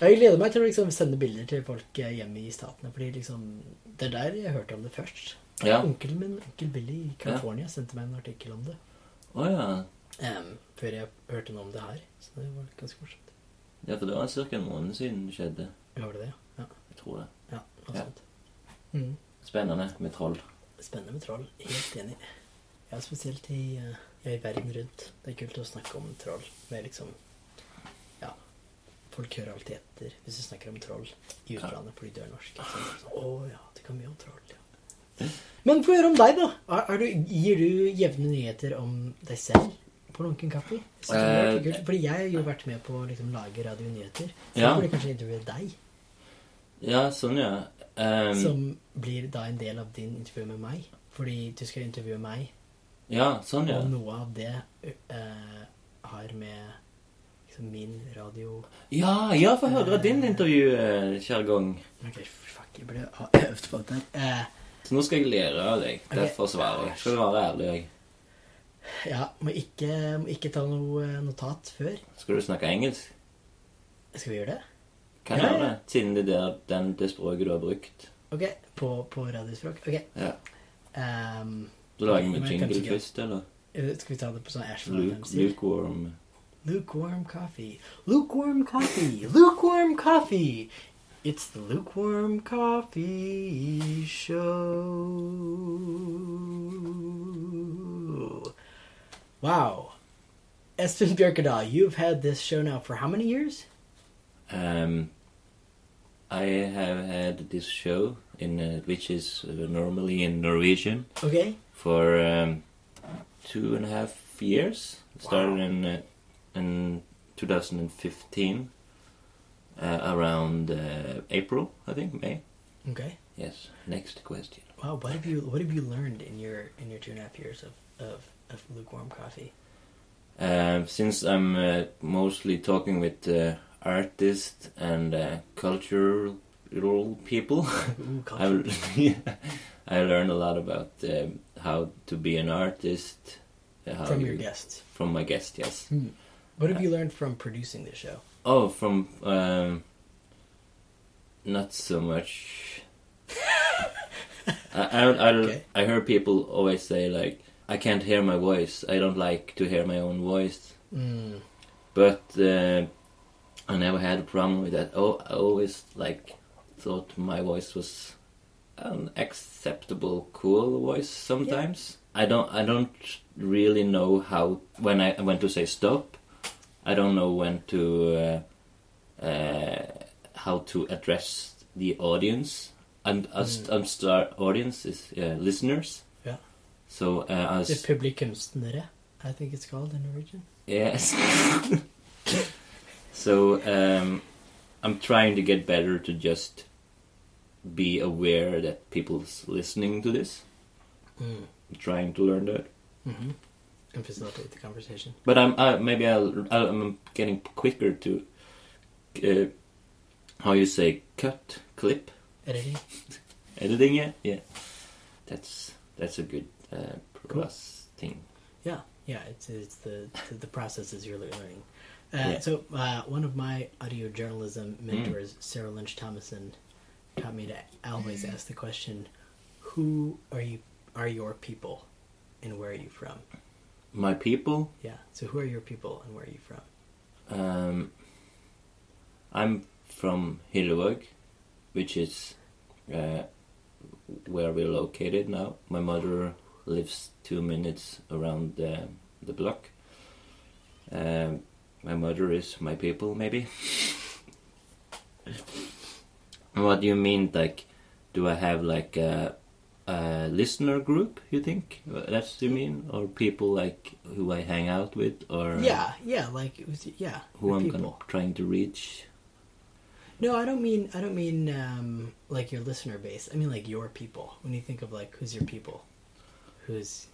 B: Jeg gleder meg til å liksom sende bilder til folk eh, hjemme i Statene. Fordi liksom, det er der jeg hørte om det først.
C: Ja.
B: Onkelen min, onkel Billy i California, sendte meg en artikkel om det.
C: Å ja.
B: em, før jeg hørte noe om det her. Så det var ganske morsomt.
C: Ja, for det var ca. en måned siden det skjedde.
B: Gjorde det, ja.
C: Jeg tror det.
B: Ja, noe
C: Ja.
B: sånt. Mm.
C: Spennende med troll.
B: Spennende med troll. Helt enig. Ja, spesielt i, eh, ja, i verden rundt. Det er kult å snakke om troll. Med liksom Ja. Folk hører alltid etter hvis du snakker om troll i utlandet fordi du er norsk. ikke sant? Så, Å ja, du kan mye om troll, ja. Men få høre om deg, da. Er, er du, gir du jevne nyheter om deg selv på Lunken kaffe? Jeg synes det er
C: Eh,
B: kult, Fordi jeg har jo vært med på å liksom, lage radionyheter. Så
C: Ja.
B: jeg burde kanskje intervjue deg,
C: Ja, sånn, ja. Ehm,
B: som blir da en del av din intervju med meg. Fordi du skal intervjue meg
C: ja, sånn, ja.
B: Og noe av det eh, har med liksom, min radio
C: Ja, ja, få høre din eh, intervjusjargong.
B: Ok, fuck, jeg burde ha øvd på det. Eh,
C: Så nå skal jeg lære av deg. Derfor svarer jeg. Skal du være ærlig òg?
B: ja, må ikke, må ikke ta noe eh, notat før.
C: Skal du snakke engelsk?
B: Skal vi gjøre det?
C: Kan
B: Ja,
C: jeg gjøre
B: ja.
C: det? Siden det er den, det språket du har brukt.
B: Ok, på, på radiospråk. Ok.
C: Ja.
B: ehm,
C: Da lager vi
B: Men
C: en
B: kanskje
C: jingle
B: ikke.
C: først, eller?
B: eh, skal vi ta det på sånn Ashford
C: Luke, lukewarm.
B: Lukewarm coffee. Lukewarm coffee. Lukewarm coffee. It's the lukewarm coffee show. Wow. Espen Bjørkedal, you've had this show now for how many years?
C: Um, I have had this show in uh, which is uh, normally in Norwegian
B: Okay.
C: for um, two and a half years. Started in uh, in 2015 uh, around uh, April, I think May.
B: Okay.
C: Yes. Next question.
B: Wow. What have you What have you learned in your in your two and a half years of of, of lukewarm coffee?
C: Um since I'm uh, mostly talking with uh, artists and uh, cultural people.
B: Ooh,
C: I,
B: coffee.
C: yeah, I learned a lot about um, how to be an artist. uh, how
B: From
C: you-
B: your guests.
C: From my guest, yes.
B: What have you learned from producing this show?
C: Oh, from um, not so much. I I, I,
B: Okay.
C: I heard people always say like, "I can't hear my voice. I don't like to hear my own voice."
B: Mm.
C: But uh, I never had a problem with that. Oh, I always like thought my voice was an acceptable, cool voice. Sometimes I don't. I don't really know how when I when to say stop. I don't know when to uh, uh, how to address the audience. I'm, I'm, st- I'm star audience is uh, listeners.
B: Yeah.
C: So uh, I
B: The
C: was
B: publikumsnere, I think it's called in Norwegian.
C: Yes. so um, I'm trying to get better to just be aware that people's listening to this.
B: Mm.
C: I'm trying to learn that,
B: Mm-hmm. And facilitate the conversation.
C: but I'm I, maybe I'll, I'll I'm getting quicker to uh, how you say cut clip
B: Editing.
C: editing it. Yeah, that's that's a good uh, plus thing.
B: Yeah, yeah. It's, it's the, the the processes you're learning. Uh,
C: Yeah.
B: So uh, one of my audio journalism mentors, Sarah Lynch Thomason, taught me to always ask the question, "Who are you? Are your people, and where are you from?"
C: My people.
B: Yeah. So who are your people, and where are you from?
C: Um, I'm from Hilleberg, which is uh, where we're located now. My mother lives two minutes around the, the block. Um, my mother is my people, maybe. what do you mean? Like, do I have like a, a listener group? You think that's what you mean, or people like who I hang out with, or
B: Yeah, yeah. Like it was. Yeah.
C: who
B: your
C: I'm
B: people.
C: gonna, trying to reach.
B: No, I don't mean. I don't mean um, like your listener base. I mean like your people. When you think of like who's your people, who's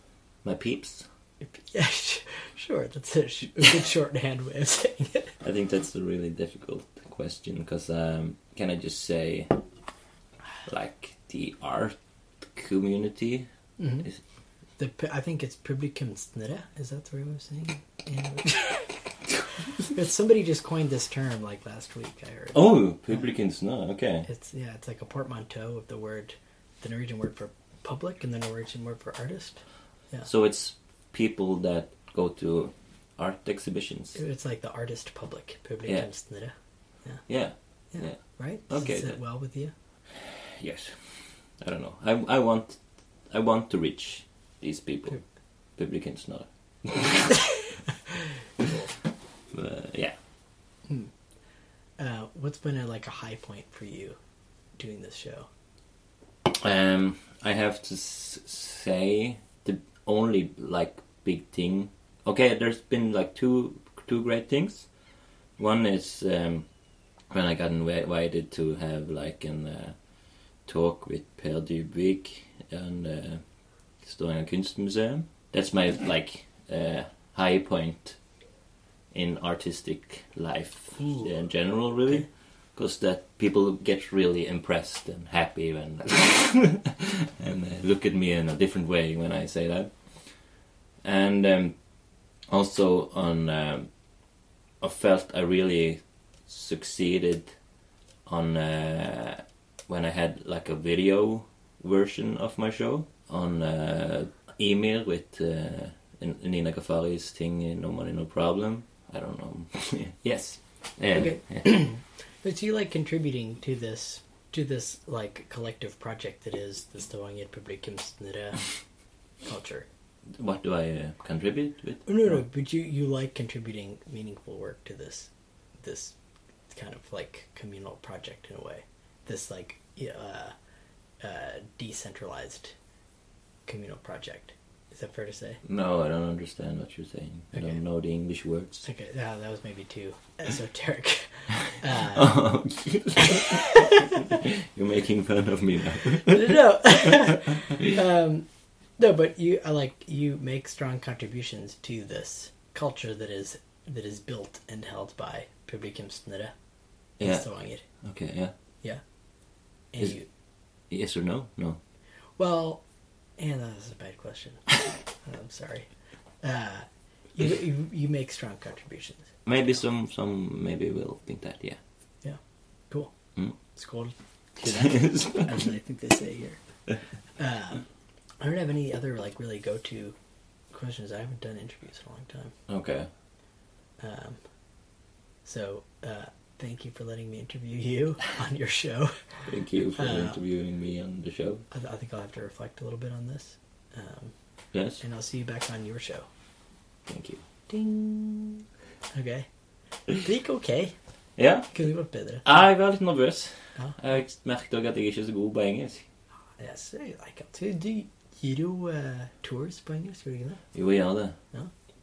C: My peeps.
B: Yeah, sh- sure. That's a, sh- a good shorthand way of saying it.
C: I think that's a really difficult question because um, can I just say, like the art community?
B: Mm-hmm.
C: Is,
B: The, p- I think it's publikumsnere. Is that the way I'm saying it? In- But somebody just coined this term like last week. I heard.
C: oh, publicans. No, okay.
B: It's yeah. It's like a portmanteau of the word, the Norwegian word for public and the Norwegian word for artist.
C: So it's people that go to art exhibitions.
B: It's like the artist public. Publikumsnere.
C: Yeah.
B: Yeah.
C: Yeah.
B: Right.
C: Okay,
B: Does it
C: then.
B: well with you?
C: Yes. I don't know. I, I want I want to reach these people. Publicans, not. uh, yeah.
B: Uh, what's been a, like a high point for you doing this show?
C: Um, I have to s- say the only like big thing. Okay, there's been like two two great things. One is um, when I got invited to have like an uh, talk with Per Dybvig and uh, Historia Kunstmuseum. That's my like uh, high point in artistic life
B: Ooh.
C: in general, really, because that people get really impressed and happy when and uh, look at me in a different way when I say that. And um, also on, um, I felt I really succeeded on uh, when I had like a video version of my show on uh, email with uh, N- Nina Gafari's thing, uh, No Money, No Problem. I don't know. yes. Yeah,
B: Okay.
C: yeah.
B: But you like contributing to this to this like collective project that is the Stavanger Publikumsnere culture.
C: What do I uh, contribute with?
B: No, no, but you you like contributing meaningful work to this this kind of like communal project in a way. This like yeah, uh, uh, decentralized communal project. Is that fair to say?
C: No, I don't understand what you're saying. I
B: Okay.
C: don't know the English words.
B: Okay, yeah, that was maybe too esoteric. Uh,
C: You're making fun of me now.
B: no, um, no, but you I like you make strong contributions to this culture that is that is built and held by publikumsnere in
C: yeah.
B: Stavanger.
C: Okay, yeah.
B: Yeah, and
C: Is-
B: you
C: Yes or no? No.
B: well, and that was a bad question. I'm sorry. Uh, you, you you make strong contributions.
C: Maybe some, some maybe will think that, yeah.
B: Yeah, cool.
C: Mm.
B: It's cool. as I think they say here. Uh, I don't have any other like really go to questions. I haven't done interviews in a long time.
C: okay.
B: Um, so uh, thank you for letting me interview you on your show.
C: Thank you for
B: Uh,
C: interviewing me on the show.
B: I, th- I think I'll have to reflect a little bit on this, um,
C: Yes.
B: and I'll see you back on your show.
C: Thank you.
B: Okay. Det gikk ok.
C: Ja,
B: Kunne vært bedre.
C: jeg var litt nervøs.
B: Ja.
C: Jeg merket også at jeg ikke er så god på engelsk.
B: Jeg ser jo like uh, at Du gir jo eh, tours på engelsk, gjør du ikke det?
C: Jo, jeg gjør det.
B: Ja.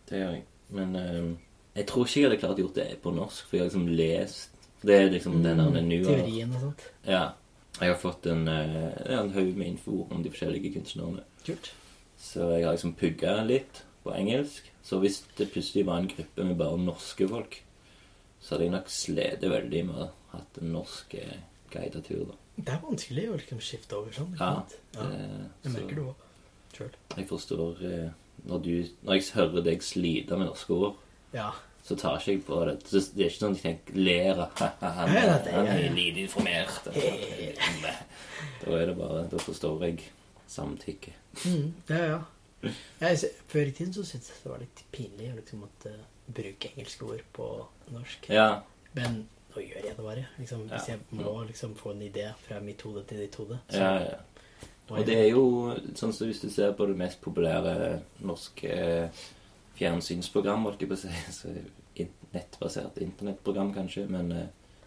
C: Det gjør jeg. Men ehm, jeg tror ikke jeg hadde klart å gjort det på norsk, for jeg har liksom lest Det er liksom den
B: Mm,
C: der den nye
B: Teorien og sånt.
C: Ja. Jeg har fått en, eh, ja, en haug med info om de forskjellige kunstnerne.
B: Kult.
C: Så jeg har liksom pugga litt på engelsk. Så hvis det plutselig var en gruppe med bare norske folk, så hadde jeg nok slitt veldig med å ha hatt en norsk eh, guidet tur, da.
B: Det er vanskelig å liksom skifte over sånn. ikke
C: Ja.
B: sant? ja.
C: eh,
B: Jeg merker det
C: så
B: òg. Sjøl.
C: jeg forstår eh, når, du, når jeg hører deg slite med norske ord,
B: Ja.
C: så tar ikke jeg på det. Så det er ikke sånn at jeg tenker, ler av han,
B: Nei, nei,
C: er-
B: det er-
C: han er lite informert. Da er det bare Da forstår jeg samtykke.
B: Mm, ja, ja. Jeg, sy- før i tiden så syntes jeg det var litt pinlig å liksom måtte bruke engelske ord på norsk.
C: Ja.
B: Men nå gjør jeg det bare. Liksom, hvis
C: Ja.
B: jeg må liksom få en idé fra mitt hode til ditt hode. så
C: ja, ja.
B: må
C: Og
B: jeg-
C: det er jo sånn som hvis du ser på det mest populære norske eh, fjernsynsprogram, holdt jeg på å si, så in- nettbasert internettprogram kanskje, men eh,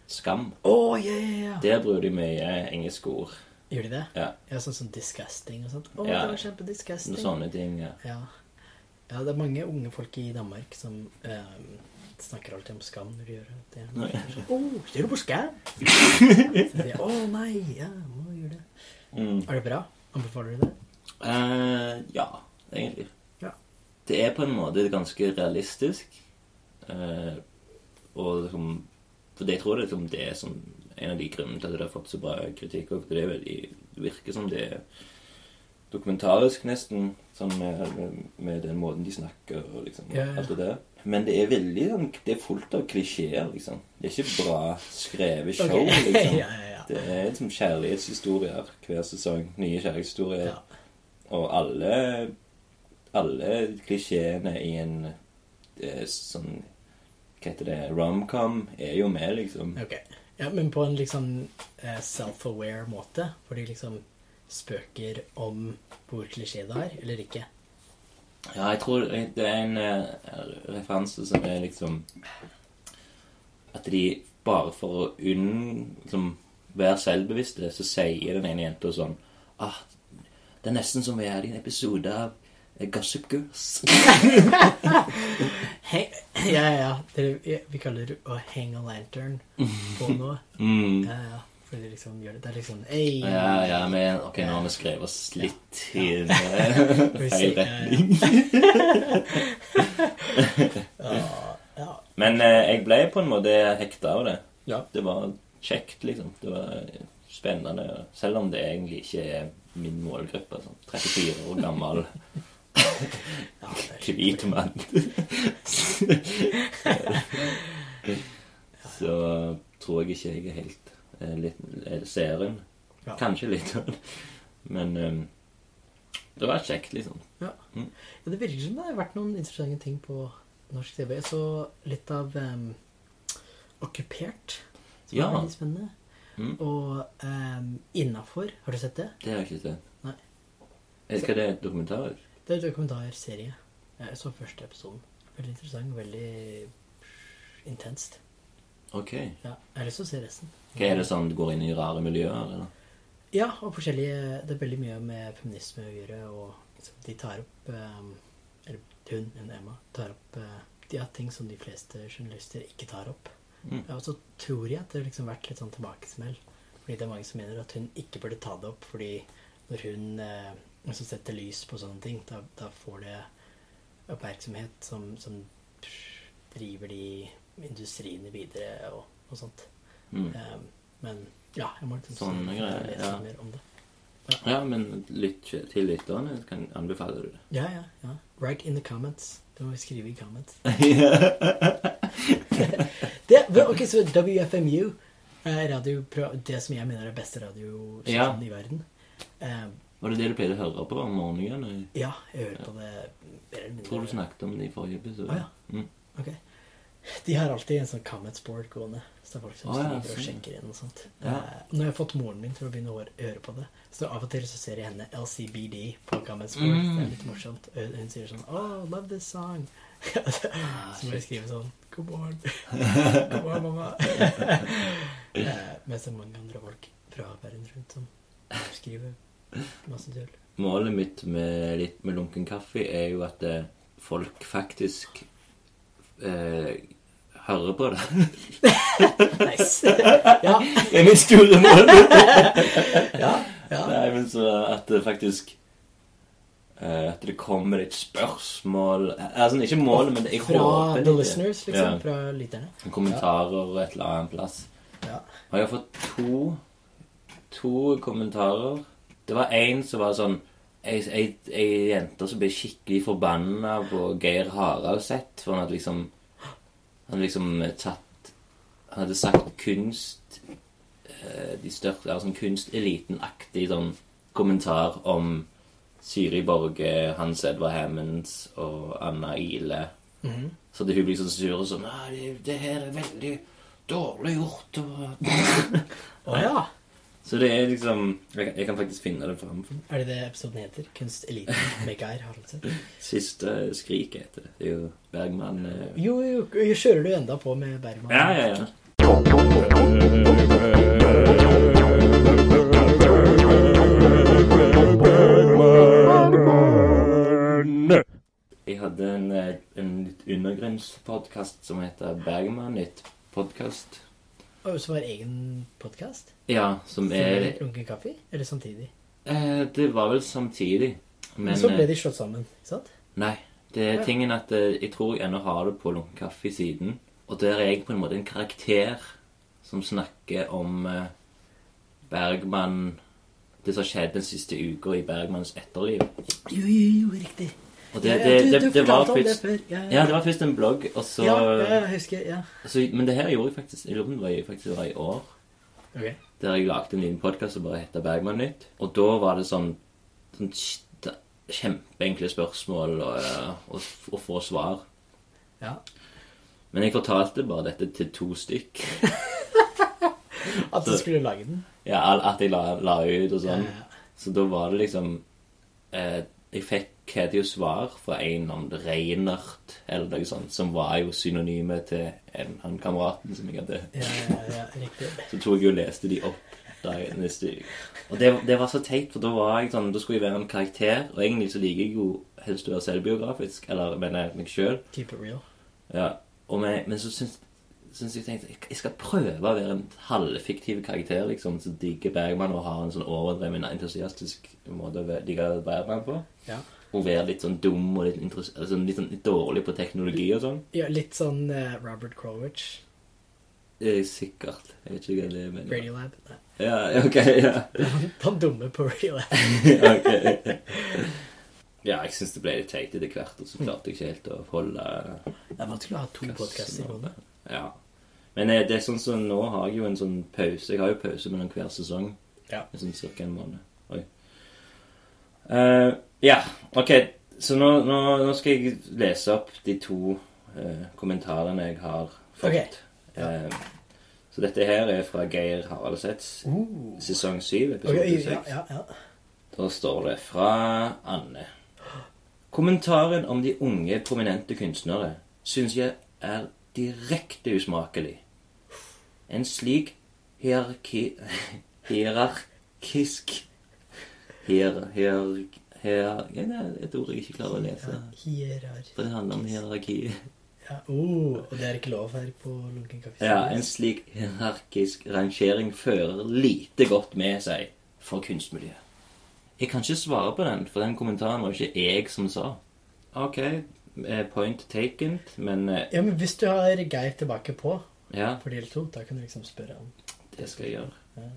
C: Skam.
B: Å, ja, ja, ja!
C: Der bruker de mye engelske ord.
B: Gjør de det?
C: Ja.
B: Ja, sånn som disgusting og sånt. Å,
C: Ja.
B: det var kjempedisgusting.
C: Sånne ting. Ja.
B: Ja. ja, det er mange unge folk i Danmark som eh, snakker alltid om skam når de gjør det.
C: Nei.
B: Å, ser du på skam? Så sier jeg, Å nei, ja, må gjøre det.
C: Mm.
B: Er det bra? Anbefaler du det?
C: Eh, ja, egentlig.
B: Ja.
C: Det er på en måte ganske realistisk. Eh, og liksom For jeg tror det, liksom, det er som en av de grunnene til at det har fått så bra kritikk. Og det, er veldig, det virker som det er dokumentarisk, nesten, sånn med, med, med den måten de snakker og liksom,
B: Ja, ja.
C: alt det der. Men det er veldig sånn Det er fullt av klisjeer, liksom. Det er ikke bra skrevet
B: Ok.
C: show, liksom.
B: ja, ja, ja.
C: Det er liksom kjærlighetshistorier hver sesong. Nye kjærlighetshistorier.
B: Ja.
C: Og alle alle klisjeene i en eh, sånn Hva heter det? Romcom er jo med, liksom.
B: Ok. Ja, men på en liksom eh, self-aware måte, hvor de liksom spøker om hvor klisjé det er, eller ikke.
C: Ja, jeg tror det er en eh, referanse som er liksom At de bare for å unn... Liksom, være selvbevisste, så sier den ene jenta sånn ah, Det er nesten som vi er i en episode av eh, Gossip Girls.
B: Heng, ja, ja, ja. Dere- ja, vi kaller det å hang a lantern på noe.
C: Mm.
B: Ja, ja. For de liksom gjør det. Det er liksom Ei!
C: Ja, ja, men ok, nå har vi skrevet oss litt i en
B: Vi
C: feil
B: sier-
C: retning.
B: Ja, ja.
C: Men eh, jeg ble på en måte hekta av det.
B: Ja.
C: Det var kjekt, liksom. Det var spennende. Selv om det egentlig ikke er min målgruppe. Sånn 34 år gammel
B: ja det er-
C: hvit mann. Så tror jeg ikke jeg er helt eh, litt, eh, serien.
B: Ja.
C: Kanskje litt. Men eh, det var kjekt, liksom.
B: Ja. ja, det virker som det har vært noen interessante ting på norsk TV. Jeg så litt av em, Okkupert, som
C: Ja.
B: er veldig spennende.
C: Mm.
B: Og um, Innafor, har du sett det?
C: Det har jeg ikke sett.
B: Nei.
C: Jeg skal det er et dokumentar.
B: Det er en dokumentarserie. Jeg så første episoden. Veldig interessant, veldig intenst.
C: Ok.
B: Ja, jeg har lyst til å se resten.
C: Hva er det sånn du går inn i rare miljøer, eller?
B: Ja, og forskjellige Det er veldig mye med feminisme å gjøre, og liksom, de tar opp eh, Eller hun, en Emma, tar opp eh, de har ting som de fleste journalister ikke tar opp.
C: Mm.
B: Ja, og så tror jeg at det har liksom vært litt sånn tilbakesmell. Fordi det er mange som mener at hun ikke burde ta det opp, fordi når hun eh, altså setter lys på sånne ting, da, da får det oppmerksomhet som, som driver de industriene videre og, og sånt.
C: Mm.
B: Eh, men ja, jeg må liksom
C: Sånne
B: si-
C: greier,
B: lese
C: ja.
B: mer om det.
C: Ja, men lytt til lytterne kan anbefale du det.
B: Ja, ja, ja. Write in the comments. Det må vi skrive i comments. det, men, ok, så WFMU er radio, det som jeg mener er det beste radiostasjonen
C: Ja.
B: i verden. Eh,
C: Var det det du pleide å høre på om morgenen?
B: ja, jeg hører på det mer eller mindre.
C: Jeg tror du snakket om det i forrige episode.
B: Å, ja.
C: Mm.
B: Ok. De har alltid en sånn comments-board gående. Så det er folk som
C: Å, ja,
B: skriver og
C: sånn.
B: sjekker inn og sånt.
C: Ja.
B: Eh, nå har jeg fått moren min til å begynne å høre- høre på det. Så av og til så ser jeg henne LCBD på comments-board.
C: Mm.
B: Det er litt morsomt. Hun hun sier sånn Oh, love this song.
C: Ah,
B: så må jeg skrive sånn God morgen. God morgen, mamma. eh, mens det er mange andre folk fra verden rundt som skriver masse tull.
C: Målet mitt med, litt med lunken kaffe er jo at eh, folk faktisk eh, hører på det.
B: Nice. ja.
C: Det er mitt store mål.
B: ja. Ja.
C: Nei, men så at det faktisk eh, At det kommer et spørsmål Altså ikke mål, men jeg
B: Fra
C: håper
B: the
C: litt.
B: listeners, liksom.
C: Ja.
B: Fra lytterne.
C: Kommentarer og et eller annet plass.
B: Ja.
C: Og jeg har fått to to kommentarer. Det var en som var sånn Ei, ei, ei jente som ble skikkelig forbanna på Geir Haraldseth for han hadde liksom Han hadde liksom tatt Han hadde sagt kunst eh, De største altså en kunsteliten-aktig sånn kommentar om Siri Borge, Hans Edvard Hammonds og Anna Ile. Så hadde hun blitt sånn sur og sånn «Nei, det, det her er veldig dårlig gjort. Og...
B: Å Ah, ja!
C: Så det er liksom Jeg, jeg kan faktisk finne det fram.
B: Er det det episoden heter? Kunsteliten med Geir Haraldsen?
C: Siste skrik heter det. Det er jo Bergman eh.
B: Jo, jo, jo, kjører du enda på med Bergman?
C: Ja, ja, ja. Jeg hadde en, eh, en litt undergrunnspodkast som heter Bergman nytt podkast.
B: Og Som har egen podkast?
C: Ja, som er
B: Runken kaffe? Eller samtidig?
C: eh, Det var vel samtidig. Men,
B: Men så Sånn ble
C: eh,
B: de slått sammen, ikke sant?
C: Nei. Det er tingen at eh, jeg tror jeg ennå har det på Lunken Kaffe-siden. Og der er jeg på en måte en karakter som snakker om eh, Bergman Det som skjedde den siste uka i Bergmans etterliv.
B: Jo, jo, jo, riktig.
C: Og det,
B: Ja,
C: det,
B: du-
C: det,
B: du
C: det var
B: fortalte om det
C: først
B: før, ja, ja.
C: Ja, det var først en blogg, og så,
B: Ja, ja, jeg husker ja.
C: så Men det her gjorde jeg faktisk Jeg lurer på om det var i- faktisk det var i år.
B: Ok.
C: Der jeg lagde en liten podkast som bare heter Bergman Nytt. Og da var det sånn, sånn kj- kjempeenkle spørsmål og, eh, og, f- og få svar.
B: Ja.
C: Men jeg fortalte bare dette til to stykk.
B: At du skulle lage den?
C: Ja, al- at jeg la, la ut og sånn.
B: Ja, ja.
C: Så da var det liksom eh, Jeg fikk hadde jo svar fra en om det Reinert eller noe sånt, som var jo synonyme til en, han kameraten som jeg hadde
B: Ja, ja, ja, riktig.
C: Så tok jeg og leste de opp da jeg- neste uke. Og det, det var så teit, for da var jeg sånn, da skulle jeg være en karakter. Og egentlig så liker jeg jo helst å være selvbiografisk, eller mener jeg meg sjøl.
B: Keep it real.
C: Ja, og men, men så syns, syns jeg tenkte jeg, jeg skal prøve å være en halvfiktiv karakter liksom, som digger Bergman og har en sånn overdreven entusiastisk måte å være- digge Bergman på.
B: Ja.
C: Og være litt sånn dum og litt, interess- eller sånn, litt, sånn, litt dårlig på teknologi og sånn.
B: ja litt sånn eh, Robert Crowwich.
C: Eh, Sikkert. Jeg vet ikke hva det er. men-
B: Radiolab. Nei,
C: Ja, ja, ok, ja.
B: Han dumme på Radiolab.
C: Ok. Ja, jeg syns det ble litt teit etter hvert, og så klarte jeg ikke helt å holde
B: Det er vanskelig å ha to podkaster i hodet.
C: Ja. Men eh, det er sånn som nå har jeg jo en sånn pause. Jeg har jo pause mellom hver sesong.
B: Ja.
C: Det er Sånn cirka en måned. Oi. Eh, ja, ok. Så nå, nå, nå skal jeg lese opp de to eh, kommentarene jeg har fått.
B: Ok.
C: Eh, så dette her er fra Geir Haraldseths
B: Uh.
C: sesong 7,
B: Ok,
C: episode 6.
B: ja, ja, ja.
C: Da står det fra Anne. Kommentaren om de unge, prominente kunstnere syns jeg er direkte usmakelig. En slik hierarki... hierarkisk hier, hier, hier, ja, Det er et ord jeg ikke klarer å lese.
B: Hierar.
C: For det handler om hierarki.
B: Ja. Uh, og det er ikke lov her på Lunken kaffe.
C: Ja, en slik hierarkisk rangering fører lite godt med seg for kunstmiljøet. Jeg kan ikke svare på den, for den kommentaren var ikke jeg som sa. Ok, eh, point taken, men eh,
B: ja, men hvis du har Geir tilbake på
C: ja,
B: for del to, da kan du liksom spørre om
C: det skal jeg gjøre.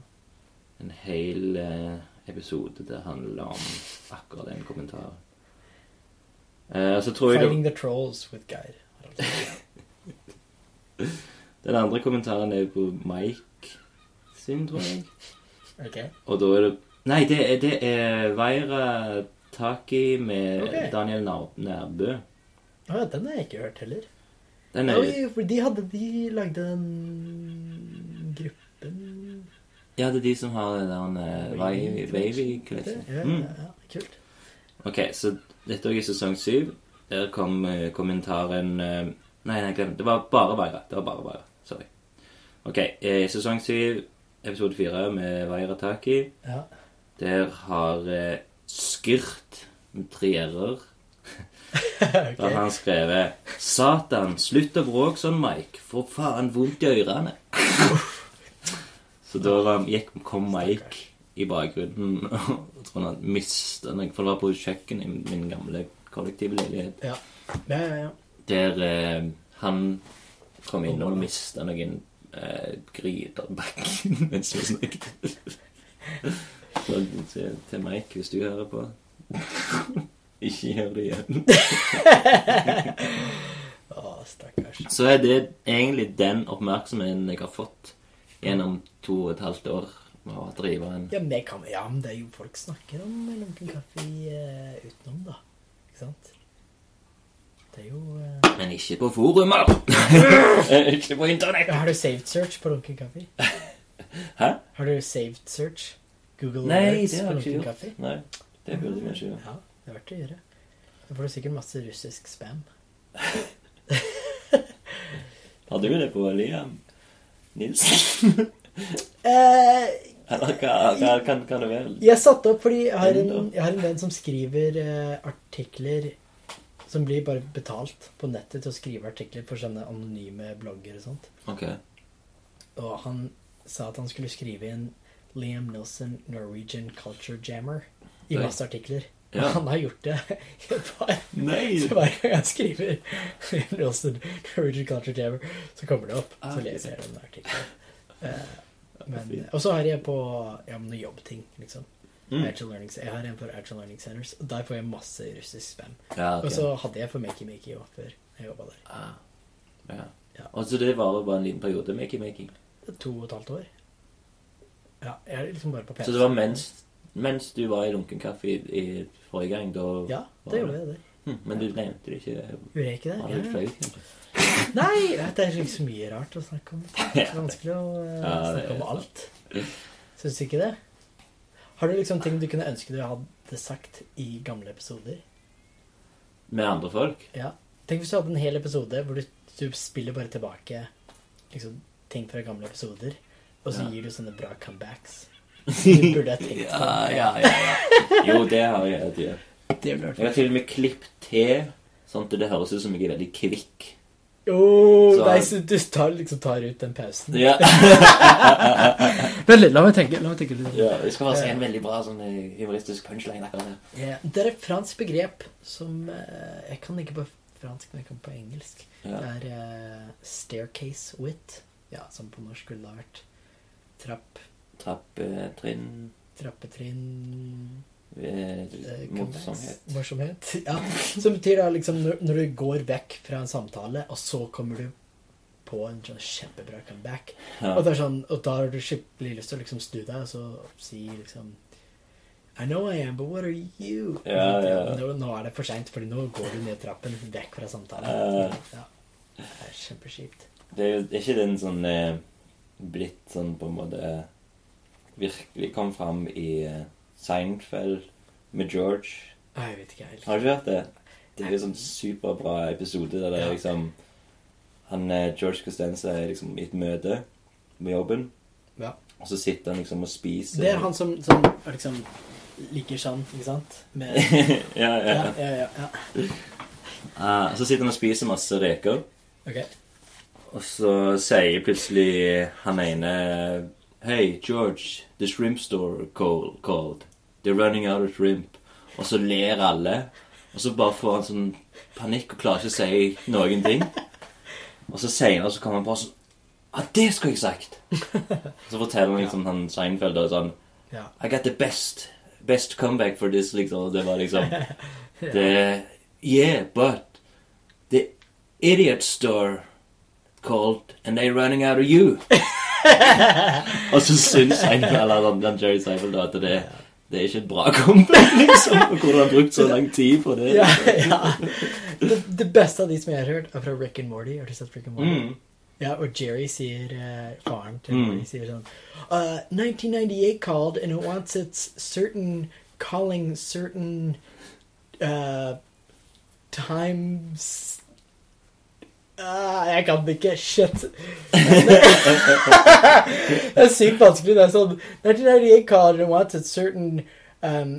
C: En hel eh, episode det handler om akkurat den kommentaren. Eh, så tror jeg det...
B: Fighting the Trolls with Geir.
C: Den andre kommentaren er på Mike sin, tror jeg.
B: Ok.
C: Og da er det Nei, det er, det er Veira Taki med
B: Ok.
C: Daniel Nær- Nærbø.
B: Å, ja, den har jeg ikke hørt heller.
C: Den er,
B: Oi, for de hadde De lagde den gruppen
C: ja, det er de som har den der eh, Wavy
B: Ja,
C: Wavy-klesjen.
B: ja, ja, kult.
C: Mm. Ok, så dette er også i sesong syv. Der kom eh, kommentaren eh, Nei, nei, glem det. Det var bare Veira. Det var bare Veira. Sorry. Ok, eh, sesong syv, episode fire med Veira Taki.
B: Ja.
C: Der har eh, Skyrt med tre r-er Da har
B: ok.
C: han skrevet 'Satan, slutt å bråke sånn, Mike. For faen, vondt i ørene'. Så da var, gikk, kom Mike i bakgrunnen og tror han mista noe. For det var på kjøkkenet i min gamle kollektivleilighet.
B: Ja. Ja, ja, ja.
C: Der eh, han kom inn og mista noen eh, gryter i bakken mens vi snakket. Så til, til Mike, hvis du hører på. Ikke gjør det igjen.
B: Å, stakkars.
C: Så er det egentlig den oppmerksomheten jeg har fått gjennom to og et halvt år med å drive en
B: Ja, men, det kan, ja, men det er jo folk snakker om lunken kaffe eh, utenom, da. Ikke sant? Det er jo eh,
C: Men ikke på forumer! Eh, ikke på internett!
B: Har du saved search på lunken kaffe?
C: Hæ?
B: Har du saved search? Google
C: Nei,
B: Alerts
C: det
B: på
C: har jeg
B: lunken
C: ikke
B: kaffe?
C: gjort. Nei, det burde vi ikke gjøre.
B: Ja, det er verdt å gjøre. Da får du sikkert masse russisk spam.
C: Har du det på Liam Nilsen?
B: Eh,
C: Eller hva, hva kan, kan det være?
B: jeg satte opp fordi jeg har en,
C: Enda.
B: jeg har en venn som skriver eh, artikler som blir bare betalt på nettet til å skrive artikler for sånne anonyme blogger og sånt.
C: Ok.
B: Og han sa at han skulle skrive en Liam Nilsen Norwegian Culture Jammer i
C: Oi.
B: masse artikler.
C: Ja.
B: Og han har gjort det i et par.
C: Nei!
B: Så hver gang jeg skriver Liam Nilsen Norwegian Culture Jammer, så kommer det opp.
C: Ah,
B: Så
C: ok.
B: leser jeg den artikkelen. Eh, Men,
C: Fint.
B: og så har jeg på ja, men noen jobbting, liksom.
C: Mm.
B: Agile Learning, jeg har en for Agile Learning Centers, og der får jeg masse russisk spam.
C: Ja,
B: Og
C: Ah, ok.
B: så hadde jeg for Makey Makey også før jeg jobba der.
C: Ah, ja.
B: Ja.
C: Og så det varer bare en liten periode, making-making.
B: To og et halvt år. Ja, jeg er liksom bare på
C: Så det var mens, mens du var i Lunken Kaffe i, i forrige gang, da
B: Ja,
C: var
B: det gjorde jeg det.
C: Hm, Men du nevnte det ikke.
B: Gjorde jeg ikke det?
C: Var det Ah, litt
B: Ja, ja.
C: flaut, kanskje?
B: Nei, vet du, det er ikke så mye rart å snakke om. Det er vanskelig å eh,
C: Ja, det
B: snakke om
C: er
B: alt. Syns du ikke det? Har du liksom ting du kunne ønske du hadde sagt i gamle episoder?
C: Med andre folk?
B: Ja. Tenk hvis du hadde en hel episode hvor du, du spiller bare tilbake liksom, ting fra gamle episoder, og så
C: Ja.
B: gir du sånne bra comebacks. Du burde ha tenkt på
C: Ja, ja, ja. ja. Jo, det har jeg hatt. Ja.
B: det. ville vært
C: Jeg har til og med klippet til, sånn at det høres ut som jeg er veldig kvikk.
B: Oh,
C: Så-
B: nei, så du tar, liksom tar ut den pausen.
C: Ja,
B: Vent litt, la meg tenke. La meg tenke litt.
C: ja Jeg skal bare si en veldig bra sånn eh, humoristisk punchline akkurat her.
B: Ja, Det er et fransk begrep som eh, Jeg kan ikke på fransk, men jeg kan på engelsk.
C: Ja.
B: Det er eh, staircase wit. Ja, som på norsk ville ha vært trapp,
C: eh, Trappetrinn
B: trappetrinn
C: ved
B: eh,
C: motsomhet.
B: comebacks, Morsomhet. Ja. Som betyr da liksom når, når du går vekk fra en samtale, og så kommer du på en sånn kjempebra comeback.
C: Ja.
B: Og, det er sånn, og da har du skikkelig lyst til å liksom snu deg og så si liksom I know I am, but what are you?
C: Ja, ja.
B: Nå, nå er det for seint, for nå går du ned trappen, vekk fra samtalen.
C: Ja.
B: Ja. Det er kjempeskipt.
C: Det er jo ikke den sånn eh, blitt sånn på en måte eh, Virkelig kom fram i eh, Seinfeld med George.
B: Nei, Jeg vet ikke helt.
C: Har du ikke hørt det? Det er jo sånn superbra episode der det er liksom han, eh, George Costanza er liksom i et møte med jobben,
B: Ja.
C: og så sitter han liksom og spiser
B: Det er han som, som er liksom liker sånn, ikke sant? Med,
C: ja, ja.
B: ja, ja, ja, ja.
C: Ah, så sitter han og spiser masse reker,
B: Ok.
C: og så sier plutselig han ene Hei, George, the shrimp store call, called. They're running out of shrimp. Og så ler alle, og så bare får han sånn panikk og klarer ikke å si noen ting. Og så senere så kommer han på sånn Ja, det skulle jeg sagt! Og så forteller han liksom han Seinfeld og sånn
B: Ja.
C: I got the best best comeback for this, liksom. Og det var liksom the, Yeah, but the idiot store called and they're running out of you. og så syns Seinfeld eller den, den Jerry Seinfeld da, at det, det er ikke et bra comeback, liksom. Og hvordan han har brukt så lang tid på det. liksom.
B: ja, ja. Det, det beste av de som jeg har hørt, er fra Rick and Morty. Har du sett Rick and Morty?
C: Mm.
B: Ja, og Jerry sier eh, Faren til
C: Mm.
B: Morty sier sånn uh, 1998 called and it wants its certain calling certain uh, times Ah, Jeg kan det ikke. Shit. det er sykt vanskelig. Det er sånn 1998 called and wants its certain um,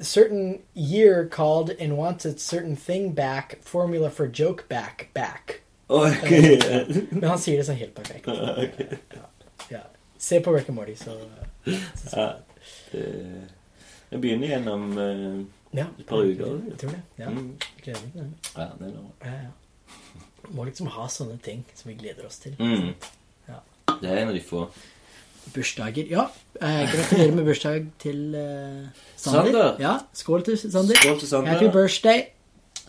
B: certain year called and wants its certain thing back formula for joke back back.
C: Ok.
B: Men han sier det sånn helt perfekt.
C: Ah,
B: Ja, ja. Se på Rick and Morty, så
C: Ja, det, jeg begynner gjennom eh,
B: ja.
C: Et par uker, ja.
B: Jeg tror det. Ja.
C: mm,
B: Gleder meg til det.
C: Ja, det er noe.
B: Ja, ja. Må liksom ha sånne ting som vi gleder oss til.
C: Mm.
B: Ja.
C: Det er en av de få.
B: Bursdager. Ja, eh, gratulerer med bursdag til eh, Sander.
C: Sander.
B: Ja, skål til Sander.
C: Skål til Sander.
B: Happy birthday.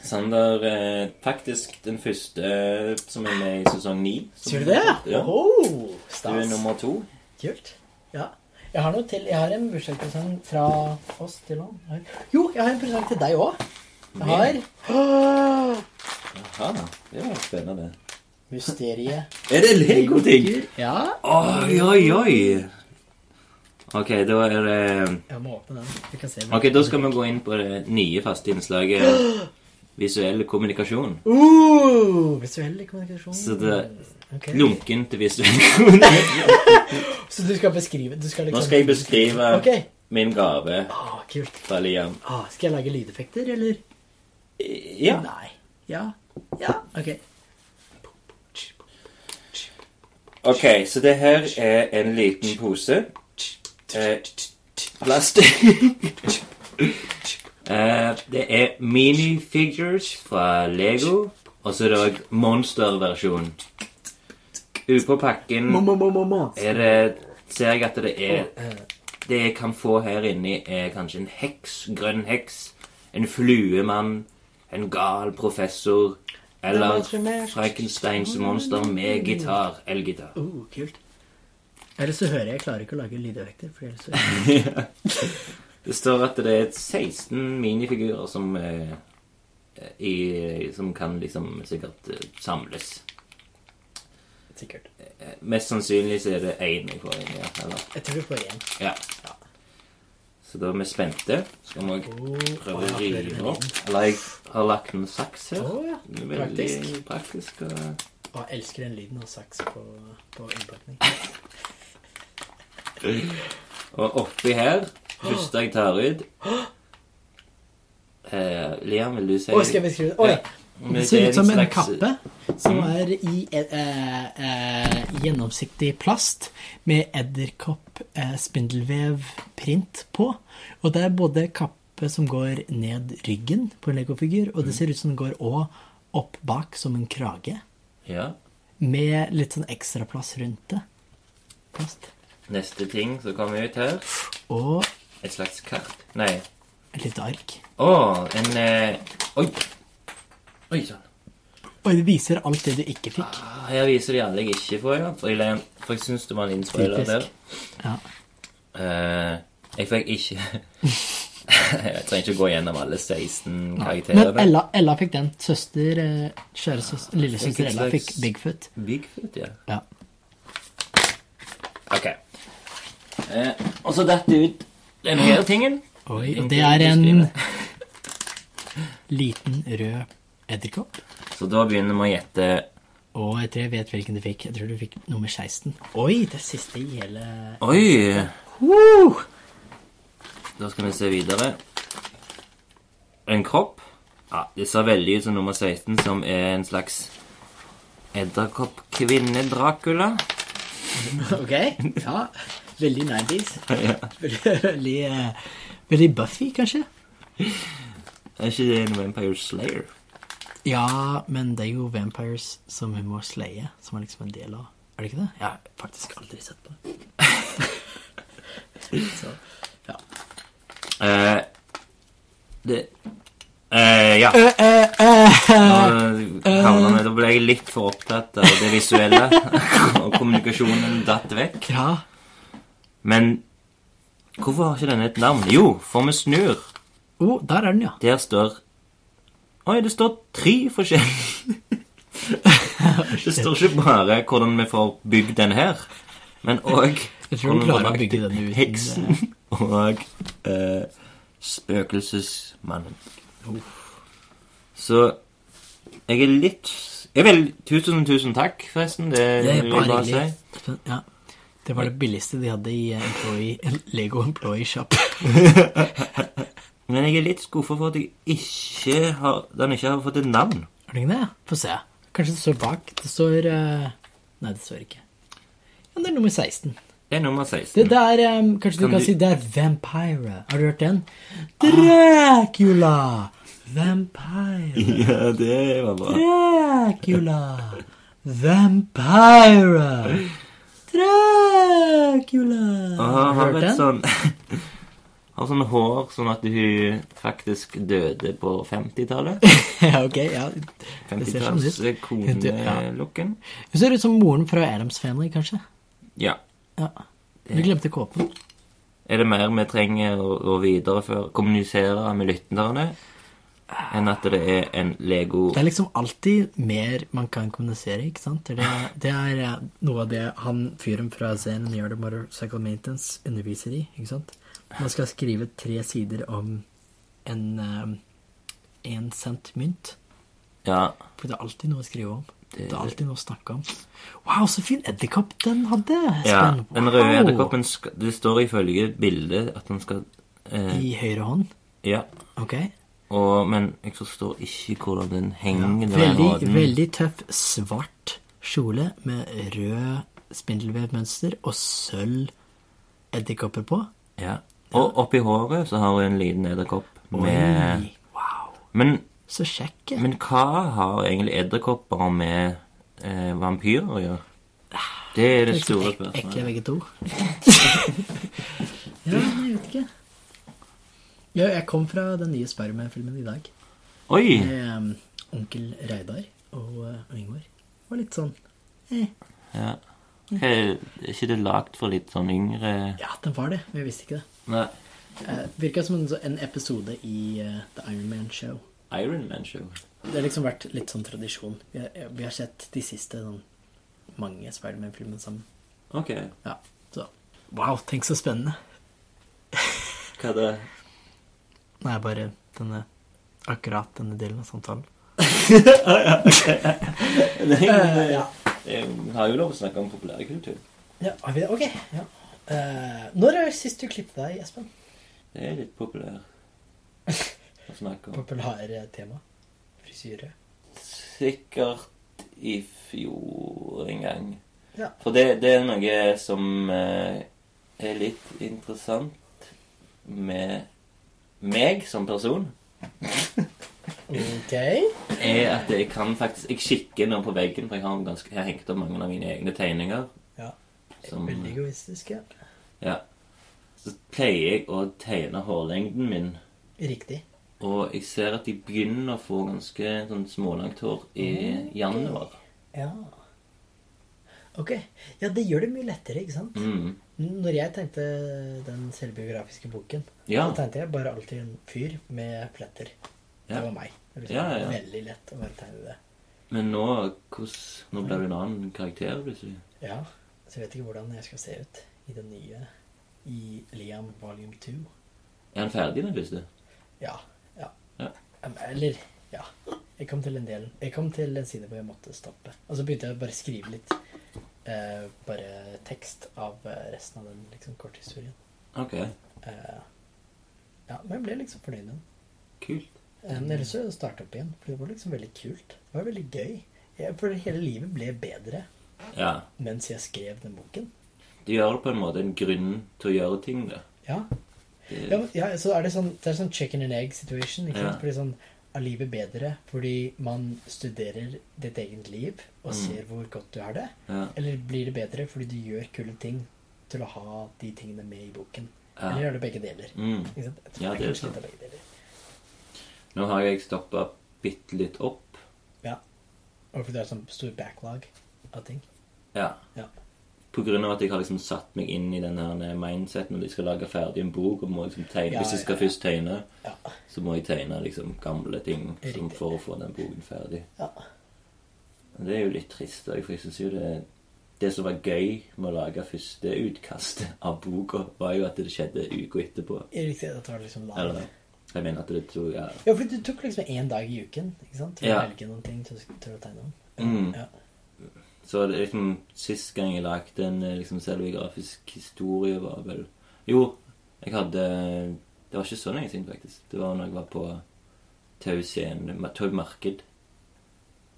C: Sander eh, faktisk den første eh, som er med i sesong ni. som-
B: Sier du det?
C: Ja.
B: Oh,
C: Du er
B: stas.
C: nummer to.
B: Kult. Ja. Jeg har, noe til, jeg har en bursdagspresang fra oss til han. Her. Jo, jeg har en presang til deg òg. Jeg har Åh!
C: Aha, det var spennende.
B: Mysteriet.
C: Er det Lego-ting?
B: Ja.
C: Oi, oi, oi. Ok, da er det
B: Jeg må åpne den. Vi kan se hva-
C: Ok, da skal vi gå inn på det nye faste innslaget visuell kommunikasjon.
B: uh, Visuell kommunikasjon.
C: Så det
B: Ok.
C: lunken til visuell kommunikasjon.
B: Så du skal beskrive du skal
C: Nå
B: liksom...
C: skal jeg beskrive
B: Ok.
C: min gave
B: Ah, kult.
C: fra Liam.
B: Ah, skal jeg lage lydeffekter, eller?
C: Ja.
B: Nei. Ja. Ja. Ok.
C: Ok, så det her er en liten pose. Eh, Plastikk. Eh, det er minifigures fra Lego, og så er det òg monsterversjon. Ute på pakken er det Ser jeg at det er Det jeg kan få her inni, er kanskje en heks, grønn heks, en fluemann, en gal professor eller Frankensteins monster med gitar, elgitar.
B: Oh, kult. Ellers så hører jeg jeg klarer ikke å lage lydeffekter. For ellers så...
C: Det står at det er 16 minifigurer som eh, i, Som kan liksom sikkert eh, samles.
B: Sikkert.
C: Eh, Mest sannsynlig så er det én jeg får inn ja, eller?
B: Jeg tror du får én.
C: Ja. Så da er vi spente. Skal vi
B: Oh,
C: også prøve å rive opp? Eller jeg har lagt en saks her.
B: Å, ja.
C: Det er Veldig praktisk. og...
B: Å, jeg elsker den lyden av saks på, på innpakning.
C: og oppi her, første jeg tar ut eh, Liam, vil du si
B: Å, skal jeg beskrive det? Oi,
C: Men
B: det
C: det
B: ser
C: er
B: ut som en
C: slags- Mm.
B: kappe som er i eh, eh, gjennomsiktig plast med edderkopp eh, spindelvevprint på. Og det er både kappe som går ned ryggen på en legofigur,
C: Mm.
B: og det ser ut som den går òg opp bak som en krage.
C: Ja.
B: Med litt sånn ekstraplass rundt det. Plast.
C: Neste ting som kommer ut her,
B: Og
C: et slags kart. Nei.
B: et lite ark.
C: Å, en eh, Oi. Oi sann.
B: Og det viser alt det du ikke fikk.
C: Ah, Her viser de alle jeg ikke får, ja. For jeg, len- for jeg syns det var en innspoiler der.
B: Typisk.
C: Ah.
B: Ja.
C: Eh, jeg fikk ikke Jeg trenger ikke gå gjennom alle 16
B: Men
C: karakterene.
B: Ella, Ella fikk den. Søster, eh, kjære søster,
C: Fikk
B: lillesøster
C: et
B: Ella
C: slags-
B: fikk Bigfoot.
C: Bigfoot, ja.
B: Ja.
C: Ok. Eh, og så datt det ut denne her tingen.
B: Oi, og
C: Ingenting
B: det er
C: å
B: en
C: beskrive.
B: liten rød edderkopp.
C: Så da begynner vi å gjette
B: Og jeg tror jeg vet hvilken du fikk. Jeg tror du fikk nummer 16. Oi, det siste i hele
C: Oi!
B: Woo!
C: Da skal vi se videre. En kropp. Ja, Det ser veldig ut som nummer 16, som er en slags edderkopp-kvinne-Dracula.
B: Ok. Ja. Veldig 90s. Veldig, eh, veldig Buffy, kanskje.
C: Er ikke det en Vampire Slayer?
B: Ja, men det er jo Vampires som hun må sleie, som er liksom en del av Er det ikke det? Jeg har faktisk aldri sett på det. Så, ja.
C: Eh, det eh, Ja. Nå havna vi Da ble jeg litt for opptatt av det visuelle, og kommunikasjonen datt vekk.
B: ja.
C: Men hvorfor har ikke denne et navn? Jo, for vi snur.
B: Oh, der er den, ja.
C: Der står Oi, det står tre forskjellige Det står ikke bare hvordan vi får bygd den her, men òg
B: Jeg tror du klarer å bygge den uten
C: Heksen og eh, spøkelsesmannen. Så jeg er litt jeg vil, Tusen, tusen takk, forresten. Det,
B: Det er
C: vil jeg
B: bare
C: bare si.
B: hyggelig. Ja. Det var det billigste de hadde i eh, employee, Lego Employee Shop.
C: Men jeg er litt skuffa for at jeg ikke har, den ikke har fått et navn.
B: Er det ikke det? Få se. Kanskje det står bak. Det står eh, Nei, det står ikke. Ja, det er nummer 16.
C: Det er nummer 16.
B: Det der, um, kanskje
C: Kan
B: du kan
C: du-
B: si det er Vampire. Har du hørt den? Dracula! Vampire.
C: Ja, det var bra.
B: Dracula! Vampire! Dracula!
C: Og
B: Har
C: hun
B: du
C: har
B: hørt
C: et
B: den?
C: sånn Har sånn hår sånn at hun faktisk døde på 50-tallet.
B: ja, ok, ja. ser sånn ut.
C: 50-talls eh,
B: Hun dø- ja.
C: konelooken.
B: Hun ser ut som sånn moren fra Adams Family, kanskje.
C: Ja.
B: Ja. Du glemte kåpen.
C: Er det mer vi trenger å, å videreføre, kommunisere med lytterne, enn at det er en Lego
B: Det er liksom alltid mer man kan kommunisere, ikke sant? Det er, det er eh, noe av det han fyren fra Zen and the Art of Motorcycle Maintenance underviser i, ikke sant? Man skal skrive tre sider om en eh, en cent mynt.
C: Ja.
B: For det er alltid noe å skrive om. Det, er alltid noe å snakke om. Wow, så fin edderkopp den hadde!
C: ja.
B: Espen.
C: Den røde
B: Wow!
C: edderkoppen skal- Det står ifølge bildet at den skal eh,
B: I høyre hånd.
C: Ja.
B: Ok.
C: Og, men jeg forstår ikke hvordan den henger den
B: Veldig,
C: raden.
B: veldig tøff svart kjole med rød spindelvevmønster og sølv edderkopper på.
C: Ja. Og oppi håret så har hun en liten edderkopp med
B: Oi, wow.
C: men,
B: Så kjekk.
C: men hva har egentlig edderkopper med eh, vampyrer å gjøre? Det er det
B: Liksom
C: store
B: ek- Ekle
C: spørsmålet.
B: begge to. ja, jeg vet ikke. Ja, jeg kom fra den nye Spiderman-filmen i dag.
C: Oi!
B: Med um, onkel Reidar og uh, Yngvar. Det var litt sånn eh.
C: Ja. Hva Er er ikke det lagd for litt sånn yngre
B: Ja, den var det, men jeg visste ikke det.
C: Nei.
B: Uh, Virka som en, en episode i eh, The Iron Man Show.
C: Iron Man Show.
B: Det har liksom vært litt sånn tradisjon. Vi har, vi har sett de siste sånn mange Spiderman-filmer sammen.
C: Ok.
B: Ja, så Wow, tenk så spennende.
C: Hva er det?
B: Nei, bare denne akkurat denne delen av samtalen. Eh,
C: Eh. Jeg har jo lov å snakke om populærkultur.
B: Ja, har vi det? Ok. Ja. Eh, når er det sist du klippet deg, Espen?
C: Det er litt populær å snakke om.
B: Populære tema. Frisyre.
C: Sikkert i fjor en gang.
B: Ja.
C: For det, det er noe som eh, er litt interessant med meg som person,
B: Ok.
C: er at jeg kan faktisk Jeg kikker nå på veggen, for jeg har, en ganske, jeg har hengt opp mange av mine egne tegninger.
B: Ja.
C: Som,
B: Veldig egoistisk, ja.
C: ja. Så pleier jeg å tegne hårlengden min.
B: Riktig.
C: Og jeg ser at de begynner å få ganske sånn smålangt hår i januar.
B: Ja. Ok. Ja, det gjør det mye lettere, ikke sant?
C: Mm.
B: Når jeg tenkte den selvbiografiske boken,
C: Ja.
B: så tenkte jeg bare alltid en fyr med pletter.
C: Ja.
B: Det var meg. Det ble
C: Ja, ja, ja.
B: veldig lett å bare tegne det.
C: Men nå, hvordan, nå blir du en annen karakter, plutselig.
B: Ja, så jeg vet ikke hvordan jeg skal se ut i den nye i Liam volume 2.
C: Er han ferdig med første?
B: Ja. ja.
C: Ja.
B: Em, Eller ja. Jeg kom til en del Jeg kom til en side hvor jeg måtte stoppe. Og så begynte jeg å bare skrive litt eh, bare tekst av eh, resten av den liksom, korthistorien.
C: Ok,
B: Eh, ja, men jeg ble liksom fornøyd med den.
C: kult.
B: Eh, Men jeg har lyst til å starte opp igjen, for det var liksom veldig kult. Det var veldig gøy. Jeg, for hele livet ble bedre
C: Ja,
B: mens jeg skrev den boken.
C: du gjør det på en måte en grunn til å gjøre ting, da.
B: Ja,
C: Det,
B: Ja, men, ja, så er det sånn, det er sånn chicken and egg situation. Ikke sant?
C: Ja.
B: Fordi sånn, er livet bedre fordi man studerer ditt eget liv og ser hvor godt du har det?
C: Mm. Ja.
B: Eller blir det bedre fordi du gjør kule ting til å ha de tingene med i boken?
C: Ja.
B: Eller er det begge deler?
C: Mm.
B: Ikke sant? Jeg tror
C: Ja,
B: det er
C: det er
B: kanskje litt
C: sant.
B: av begge deler.
C: Nå har jeg stoppet bitte litt opp.
B: Ja. Og fordi det er sånn stor backlog av ting.
C: Ja.
B: Ja.
C: På grunn av at jeg har liksom satt meg inn i den her mindset når de skal lage ferdig en bok, og må liksom tegne.
B: Ja,
C: Hvis jeg skal
B: ja, ja.
C: først tegne,
B: Ja.
C: så må jeg tegne liksom gamle ting som
B: Riktig.
C: for å få den boken ferdig.
B: ja.
C: Det er jo litt trist, da, for jeg synes jo det Det som var gøy med å lage første utkast av boka, var jo at det skjedde uka etterpå.
B: Er det riktig at det var liksom
C: Eller
B: live?
C: jeg mener at det tror jeg
B: Ja, fordi du tok liksom én dag i uken ikke sant? til
C: Ja.
B: å velge noen ting til, å- til å tegne om.
C: Mm.
B: Ja.
C: Så det er liksom, sist gang jeg lagde en eh, liksom, selvbiografisk historie, var vel Jo, jeg hadde Det var ikke så lenge siden, faktisk. Det var når jeg var på Tau Scene ma- Tau Marked.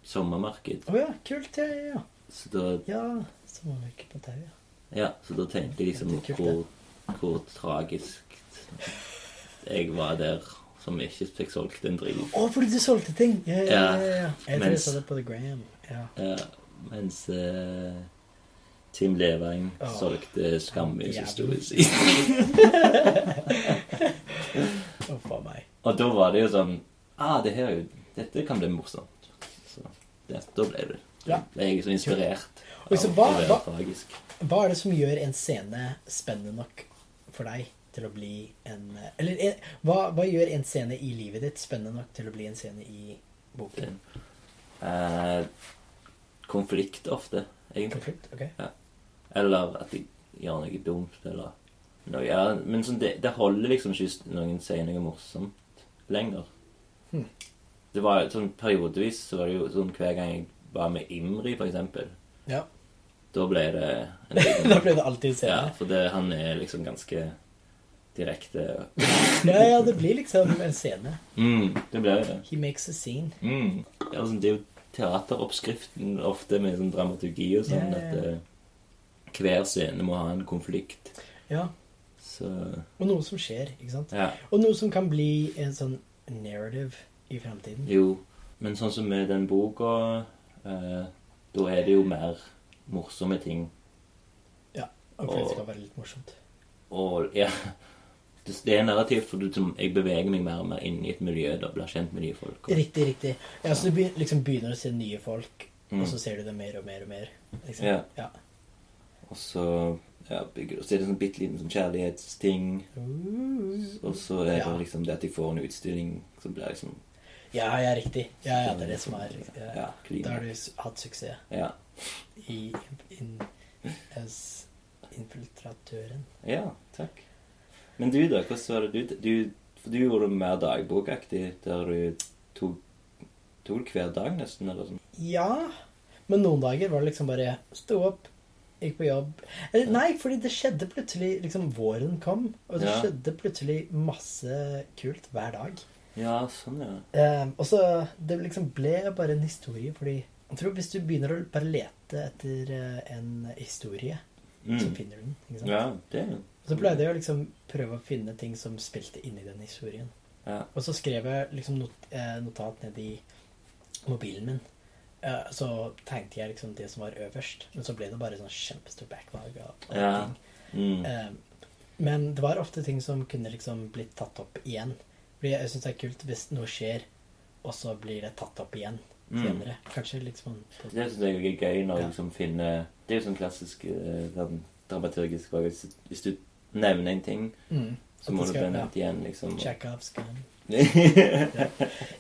C: Sommermarked.
B: Å ja, kult. Ja, ja, ja.
C: Så da,
B: Ja, sommermørket på tauet. ja.
C: ja, så da tenkte jeg liksom
B: Det er kult,
C: hvor, hvor tragisk jeg var der som ikke fikk solgt en drit.
B: Å, fordi du solgte ting! Ja, ja, ja.
C: Ja,
B: ja. Jeg tror jeg
C: mens-
B: så det på The Gram. Ja.
C: Ja, mens eh, Tim Levang
B: Ja.
C: solgte Skam i siste
B: Jævlig.
C: uke.
B: Uff a meg.
C: Og da var det jo sånn Ah, det her, er jo- dette kan bli morsomt. Så det, da ble det.
B: Ja.
C: Ble jeg så inspirert.
B: Og så
C: av
B: hva-
C: å være
B: hva-
C: tragisk.
B: Hva er det som gjør en scene spennende nok for deg til å bli en eh, Eller en, hva, hva gjør en scene i livet ditt spennende nok til å bli en scene i boken?
C: Eh, konflikt ofte, egentlig.
B: Konflikt? Ok.
C: Eller at jeg gjør noe dumt, eller noe, ja, Men sånn, det, det holder liksom ikke hvis noen sier noe morsomt lenger.
B: Hmm.
C: Det var jo sånn Periodevis så var det jo sånn hver gang jeg var med Imri, for eksempel,
B: Ja.
C: da ble det en
B: da
C: liten
B: ble det alltid en
C: Ja,
B: scene.
C: for det, han er liksom ganske direkte
B: Ja. ja, det blir liksom en scene.
C: mm, Det blir jo det.
B: He makes a scene.
C: Mm. Ja, altså, det er jo teateroppskriften ofte med sånn dramaturgi og sånn
B: Ja, ja,
C: at
B: ja.
C: eh, hver scene må ha en konflikt.
B: Ja.
C: Så
B: Og noe som skjer, ikke sant?
C: ja,
B: Og noe som kan bli en sånn narrative i fremtiden.
C: jo. Men sånn som med den boka, eh, da er det jo mer morsomme ting.
B: Og for at det skal være litt morsomt.
C: Og ja Det det er narrativt, for du, som- jeg beveger meg mer og mer inn i et miljø. da Blir kjent med nye folk. og-
B: Riktig, riktig. Ja, så du begyn- liksom begynner å se nye folk,
C: Mm.
B: og så ser du det mer og mer og mer. Liksom.
C: Ja.
B: ja.
C: Og så ja, bygger Og så er det sånn bitte liten sånn kjærlighetsting. Og så er
B: Ja.
C: det liksom det at de får en utstilling som blir liksom
B: Ja, ja, riktig. Ja, ja, det er det som er ja.
C: Ja, klima.
B: Da har du s- hatt suksess
C: Ja.
B: i in, as infiltratøren.
C: ja, takk. Men du, da? Hvordan var det du, du For du gjorde det mer dagbokaktig, der du tok Tok det hver dag, nesten? eller sånn.
B: Ja, men noen dager var det liksom bare stå opp, gikk på jobb Eller, Nei, fordi det skjedde plutselig liksom Våren kom, og det
C: Ja.
B: skjedde plutselig masse kult hver dag.
C: Ja, sånn, ja.
B: Eh, og så Det liksom ble bare en historie, fordi jeg tror hvis du begynner å bare lete etter eh, en historie, så
C: Mm.
B: finner du den. ikke sant?
C: Ja, det er jo
B: Så pleide jeg å liksom prøve å finne ting som spilte inn i den historien.
C: Ja.
B: Og så skrev jeg liksom not eh, notat ned i mobilen min. Eh, Så tenkte jeg liksom det som var øverst, men så ble det bare sånn kjempestor backlog. Av av
C: Ja.
B: ting.
C: Mm.
B: Eh, Men det var ofte ting som kunne liksom blitt tatt opp igjen. Fordi jeg syns det er kult hvis noe skjer, og så blir det tatt opp igjen
C: Mm.
B: senere. Kanskje liksom på-
C: Det syns jeg er gøy når du
B: Ja.
C: liksom finner Det er jo sånn klassisk eh, sånn dramaturgisk også, hvis- Hvis du nevner en ting,
B: mm.
C: så må
B: At
C: du
B: det
C: bli
B: skal-
C: nevnt igjen, liksom.
B: ja, Chekhovs gun.
C: ja.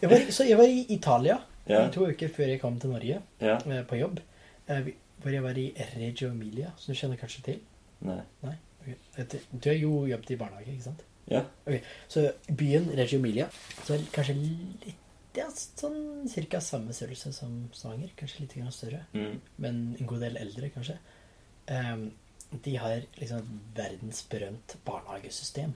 B: Jeg var, så jeg var i Italia
C: Ja.
B: i to uker før jeg kom til Norge.
C: ja.
B: eh, på jobb. eh, vi- Hvor jeg var i Reggio Emilia, som du kjenner kanskje til?
C: Nei.
B: Nei? Ok. Et- Du har jo jobbet i barnehage, ikke sant?
C: Ja.
B: Ok, Så byen Reggio Emilia så er det kanskje litt ja, sånn cirka samme størrelse som Stavanger. Kanskje litt grann større,
C: Mm.
B: men en god del eldre, kanskje. Ehm, De har liksom et verdensberømt barnehagesystem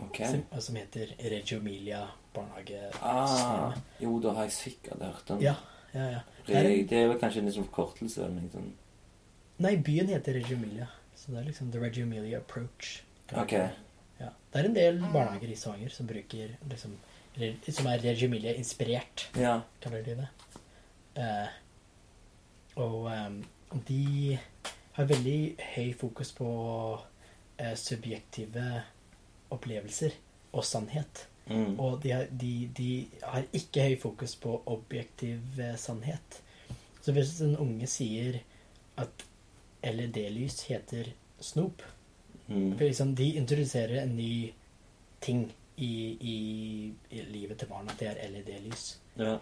C: Ok.
B: som, som heter Reggio Emilia barnehagesystemet.
C: Ah, jo, da har jeg sikkert hørt om
B: Ja, ja, ja. Det er en-
C: Re- Det er vel kanskje en liksom forkortelse eller noe sånt.
B: Nei, byen heter Reggio Emilia. Så det er liksom The Reggio Emilia Approach.
C: Ok.
B: Ja. Det er en del barnehager i Stavanger som bruker liksom Som er Reggio Emilia-inspirert,
C: Ja.
B: kaller de det. Eh, og eh, de har veldig høy fokus på eh, subjektive opplevelser og sannhet.
C: Mm.
B: Og de har, de, de har ikke høy fokus på objektiv eh, sannhet. Så hvis en unge sier at LED-lys heter snop
C: Mm.
B: for liksom, De introduserer en ny ting i, i, i livet til barna. Det er LED-lys.
C: Ja.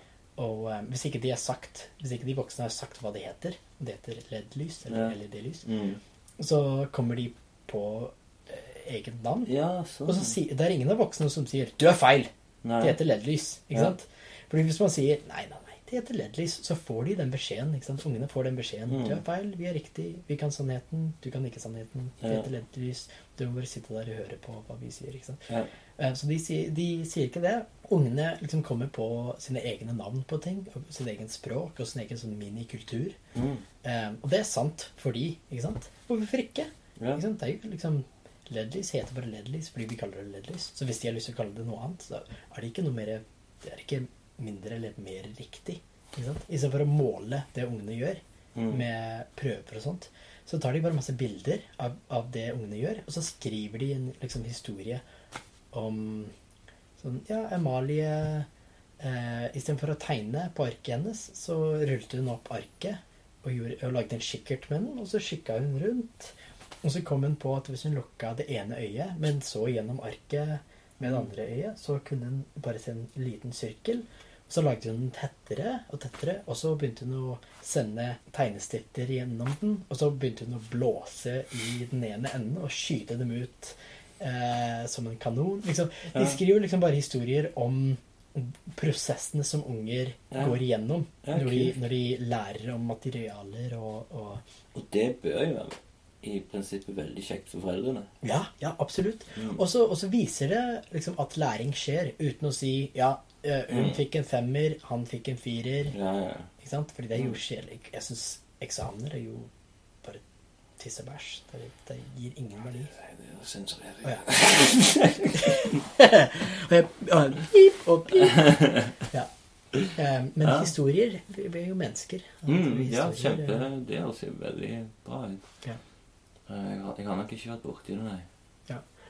B: Og eh, hvis ikke de har sagt Hvis ikke de voksne har sagt hva det heter, om det heter LED-lys
C: Ja.
B: eller LED-lys,
C: Mm.
B: så kommer de på eh, eget navn.
C: ja, sånn.
B: Og så sier, Det er ingen av voksne som sier 'du er feil'.
C: Nei.
B: Det heter LED-lys, ikke
C: Ja.
B: sant? Fordi hvis man sier nei, nei, nei, det heter LED-lys, så får de den beskjeden. ikke sant? Ungene får den beskjeden.
C: Mm.
B: Du er feil, vi er riktig, vi kan sannheten, du kan ikke sannheten. Det
C: Ja.
B: heter LED-lys. Du må bare sitte der og høre på hva vi sier. ikke sant?
C: Ja.
B: Eh, Så de sier, de sier ikke det. Ungene liksom kommer på sine egne navn på ting, og sin egen språk og sin egen sånn minikultur.
C: Mm.
B: Eh, Og det er sant for de, ikke sant? Hvorfor ikke?
C: Ja.
B: Ikke sant? Det er jo liksom LED-lys heter bare LED-lys fordi vi kaller det LED-lys. Så hvis de har lyst til å kalle det noe annet, så er det ikke noe mer Det er ikke mindre eller mer riktig. Ikke sant? Istedenfor å måle det ungene gjør
C: Mm.
B: med prøver og sånt, Så tar de bare masse bilder av, av det ungene gjør, og så skriver de en liksom, historie om sånn Ja, Emalie eh, Istedenfor å tegne på arket hennes, så rullet hun opp arket og, gjorde, og lagde en kikkert med den, og så kikka hun rundt. Og så kom hun på at hvis hun lukka det ene øyet, men så gjennom arket med det andre øyet, så kunne hun bare se en liten sirkel. Og så lagde hun den tettere og tettere, og så begynte hun å sende tegnestifter gjennom den. Og så begynte hun å blåse i den ene enden og skyte dem ut eh, som en kanon. Liksom. De skriver liksom bare historier om prosessene som unger
C: Ja.
B: går igjennom
C: Ja,
B: når, de,
C: kult.
B: når de lærer om materialer og, og
C: Og det bør jo være i prinsippet veldig kjekt for foreldrene.
B: Ja, ja, absolutt.
C: Mm.
B: Og så og så viser det liksom at læring skjer, uten å si ja, eh, hun
C: Mm.
B: fikk en femmer, han fikk en firer.
C: Ja, Mm. ja.
B: Ikke sant? Fordi det er jo kjedelig. Jeg syns eksamener er jo bare tiss og bæsj. Det, det gir ingen verdi.
C: Nei, det er sensurering.
B: Å, ja. og jeg, og pip og pip. Ja. Eh, Men
C: Ja.
B: historier Vi vi er jo mennesker.
C: Mm, ja,
B: Historier,
C: kjempe.
B: eh,
C: Det høres jo veldig bra ut.
B: Ja.
C: Eh, Jeg har, jeg har nok ikke vært borti det, nei.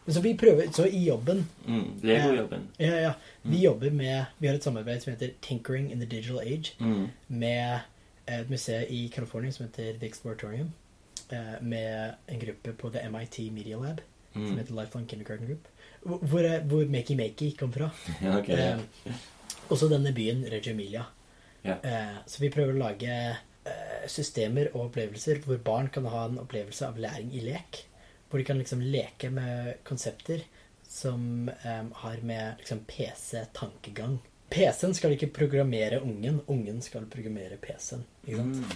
B: Men så vi prøver, så i jobben
C: Mm, Lego-jobben.
B: Ja, ja.
C: Mm.
B: Vi jobber med Vi har et samarbeid som heter Tinkering in the Digital Age.
C: Mm.
B: Med eh, et museum i California som heter The Exploratorium. eh, Med en gruppe på The MIT Media Lab som
C: Mm.
B: heter Lifelong Kindergarten Group. Hvor, hvor er- hvor Makey Makey kom fra.
C: Ja, ok. Ja.
B: Eh, også denne byen Reggio Emilia.
C: Ja.
B: Eh, så vi prøver å lage eh, systemer og opplevelser hvor barn kan ha en opplevelse av læring i lek. Hvor de kan liksom leke med konsepter som eh, har med liksom PC-tankegang. PC-en skal ikke programmere ungen, ungen skal programmere PC-en. Ikke sant?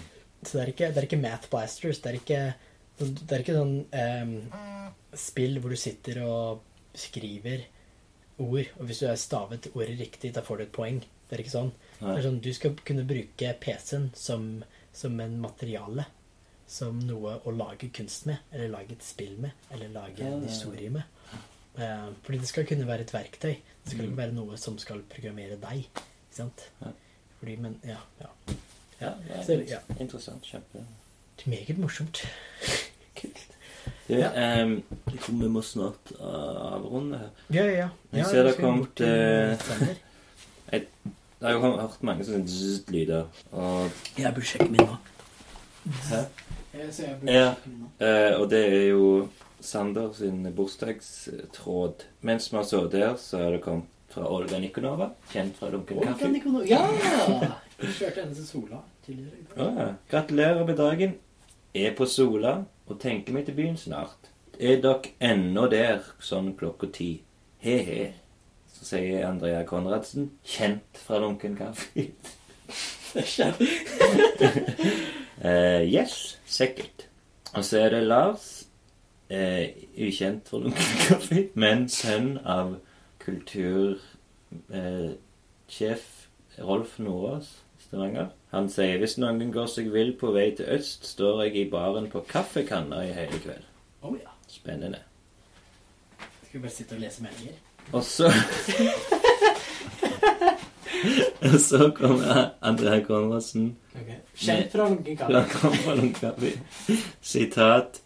B: Så det er ikke, det er ikke Math Blasters. Det er ikke, det er ikke sånn ehm, spill hvor du sitter og skriver ord, og hvis du har stavet ordet riktig, da får du et poeng. Det er ikke sånn. Det
C: Nei.
B: er sånn du skal kunne bruke PC-en som, som en materiale. Som noe å lage kunst med, eller lage et spill med, eller lage en
C: Ja.
B: historie med. Eh, fordi det skal kunne være et verktøy. Det skal ikke være noe som skal programmere deg. Ikke sant?
C: Mm. Ja.
B: Fordi, men, ja, ja.
C: Ja, det er
B: Så,
C: litt
B: ja.
C: Interessant. Kjempe.
B: Det er Meget morsomt.
C: Du, ehm, jeg tror vi må snart eh, avrunde her.
B: Ja, ja, ja.
C: Vi
B: ja
C: ser det eh,
B: vi skal
C: kom
B: bort til
C: til-
B: Sander.
C: Jeg har jo hørt mange sånne zzz-lyder. Og,
B: Jeg burde sjekke min nå.
C: Hæ?
B: Jeg
C: Ja. Eh, og det er jo Sander sin bursdagstråd. Mens man så der, så er det kommet fra Olga Nikonova, kjent fra Dunkel Kaffe.
B: Ja! Kjørte henne til Sola tidligere i dag.
C: Å, ja. Gratulerer med dagen. Er på Sola og tenker meg til byen snart. Er dere ennå der sånn klokka ti? He-he. Så sier Andrea Konradsen, kjent fra Dunken kaffe. uh, yes, sikkert. Og så er det Lars, eh, ukjent fra Dunken kaffe, men sønn av eh, kultursjef Rolf Nordås Stavanger. Han sier hvis noen går seg vill på vei til øst, står jeg i baren på kaffekanna i hele kveld.
B: Oh, ja.
C: Spennende.
B: Skal vi bare sitte og lese meldinger?
C: Og så Og så kommer Andrea Konradsen. Kjent
B: fra Lunken
C: Han kommer fra noen kaffe. Sitat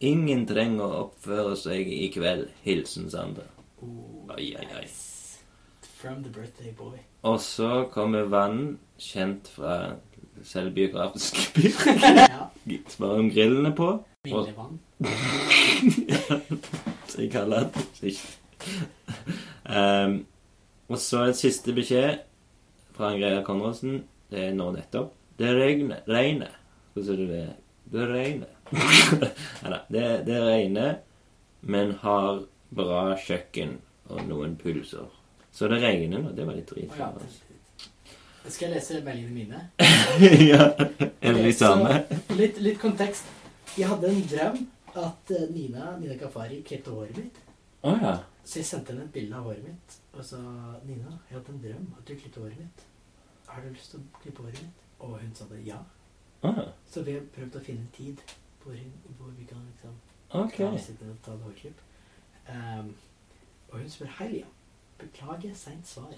C: Ingen trenger å oppføre seg i kveld. Hilsen Sander. Oi, oi, oi.
B: Oh, From the birthday boy.
C: Og så kommer Vann, kjent fra selvbiografiske byer.
B: Ja.
C: Svarer om grillene på.
B: Ville vann.
C: Så jeg kaller han Ehm, Og så en siste beskjed fra Andrea Konradsen. Det er nå nettopp. Det regner. regner. Hva sier du det? er? Det regner. Nei da. Det, det regner, men har bra kjøkken og noen pulser. Så det regner nå. Det var litt drit. for oss.
B: Skal jeg lese meldingene mine?
C: ja. sånn. Er
B: Ok,
C: det de samme?
B: så Litt, litt kontekst. Jeg hadde en drøm at eh, Nina, Nina Kafari klippte håret mitt.
C: Å ja.
B: Så jeg sendte henne et bilde av håret mitt og sa Nina, jeg hadde en drøm at du klippet håret mitt. Har du lyst til å klippe håret mitt? Og hun sa det ja.
C: Å ja.
B: Så vi har prøvd å finne en tid hvor, hun, hvor vi kan liksom
C: Ok.
B: kan sitte og ta en hårklipp. Ehm, og hun spør Hei, Liam. Beklager seint svar.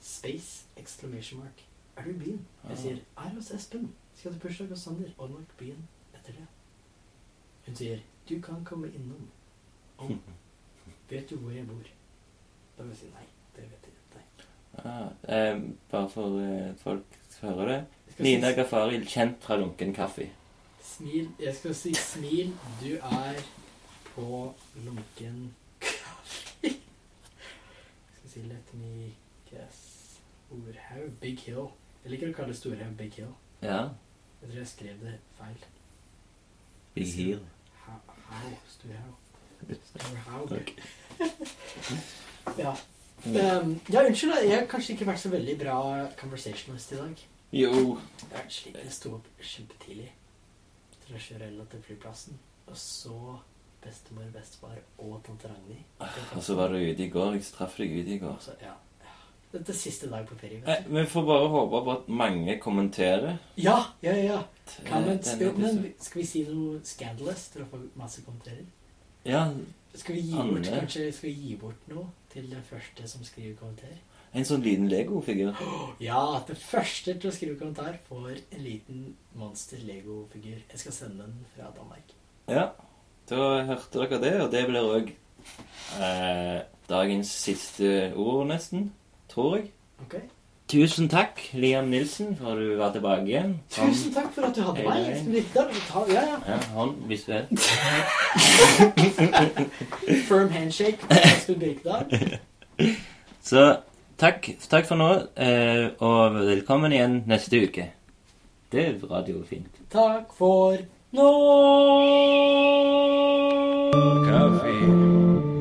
B: Space exclamation mark. Er du i byen? Jeg sier er hos Espen. Skal til bursdag hos Sander. Og nok byen etter det. Hun sier 'Du kan komme innom om Vet du hvor jeg bor?' Da vil jeg si 'Nei, det vet jeg ikke'. Nei.
C: Ah, eh, bare for eh, folk hører det.
B: Jeg skal
C: Nina
B: si-
C: Gaffaril, kjent fra lunken kaffe.
B: Smil. Jeg skal si smil. Du er på lunken kaffe. Jeg skal si let me guess. Orhaug. Big Hill. Jeg liker å kalle det Storhaug Big Hill.
C: Ja.
B: Jeg tror jeg skrev det feil.
C: Big Heel.
B: Ha- Hau. Storhaug.
C: Takk.
B: Storhaug. Ja. Um, ja, unnskyld. da. Jeg har kanskje ikke vært så veldig bra conversationalist i dag.
C: Jo.
B: Jeg har vært sliten. Jeg sto opp kjempetidlig. Til å kjøre Ella til flyplassen. Og så bestemor, bestefar og tante Ragnhild.
C: Og så var du ute i går. Jeg traff deg ute i går.
B: Altså, ja. Dette er siste dag på ferie,
C: Nei,
B: vet du.
C: Eh, Vi får bare håpe på at mange kommenterer.
B: Eh, Ja, ja, ja.
C: eh,
B: Kan man,
C: denne
B: skal, men,
C: episoden.
B: skal vi si noe scandalous til å få masse kommentarer?
C: Ja,
B: Skal vi gi bort,
C: Anne.
B: kanskje, skal vi gi bort noe til den første som skriver kommentar?
C: en sånn liten Lego-figur.
B: Ja, den første til å skrive kommentar får en liten monster-lego-figur. Jeg skal sende den fra Danmark.
C: Ja, da hørte dere det, og det blir òg eh, dagens siste ord, nesten. Tror jeg.
B: Ok?
C: Tusen takk, Liam Nilsen, for at du var tilbake igjen. Hånd-
B: Tusen takk for at du hadde
C: Hei,
B: meg.
C: hei.
B: Lytter, ta- Ja, ja.
C: Ja, hånd, hvis du er.
B: Firm handshake. Espen Birkedal.
C: Så takk, takk for nå, eh, og velkommen igjen neste uke. Det er radiofint.
B: Takk for nå!
F: Kaffe.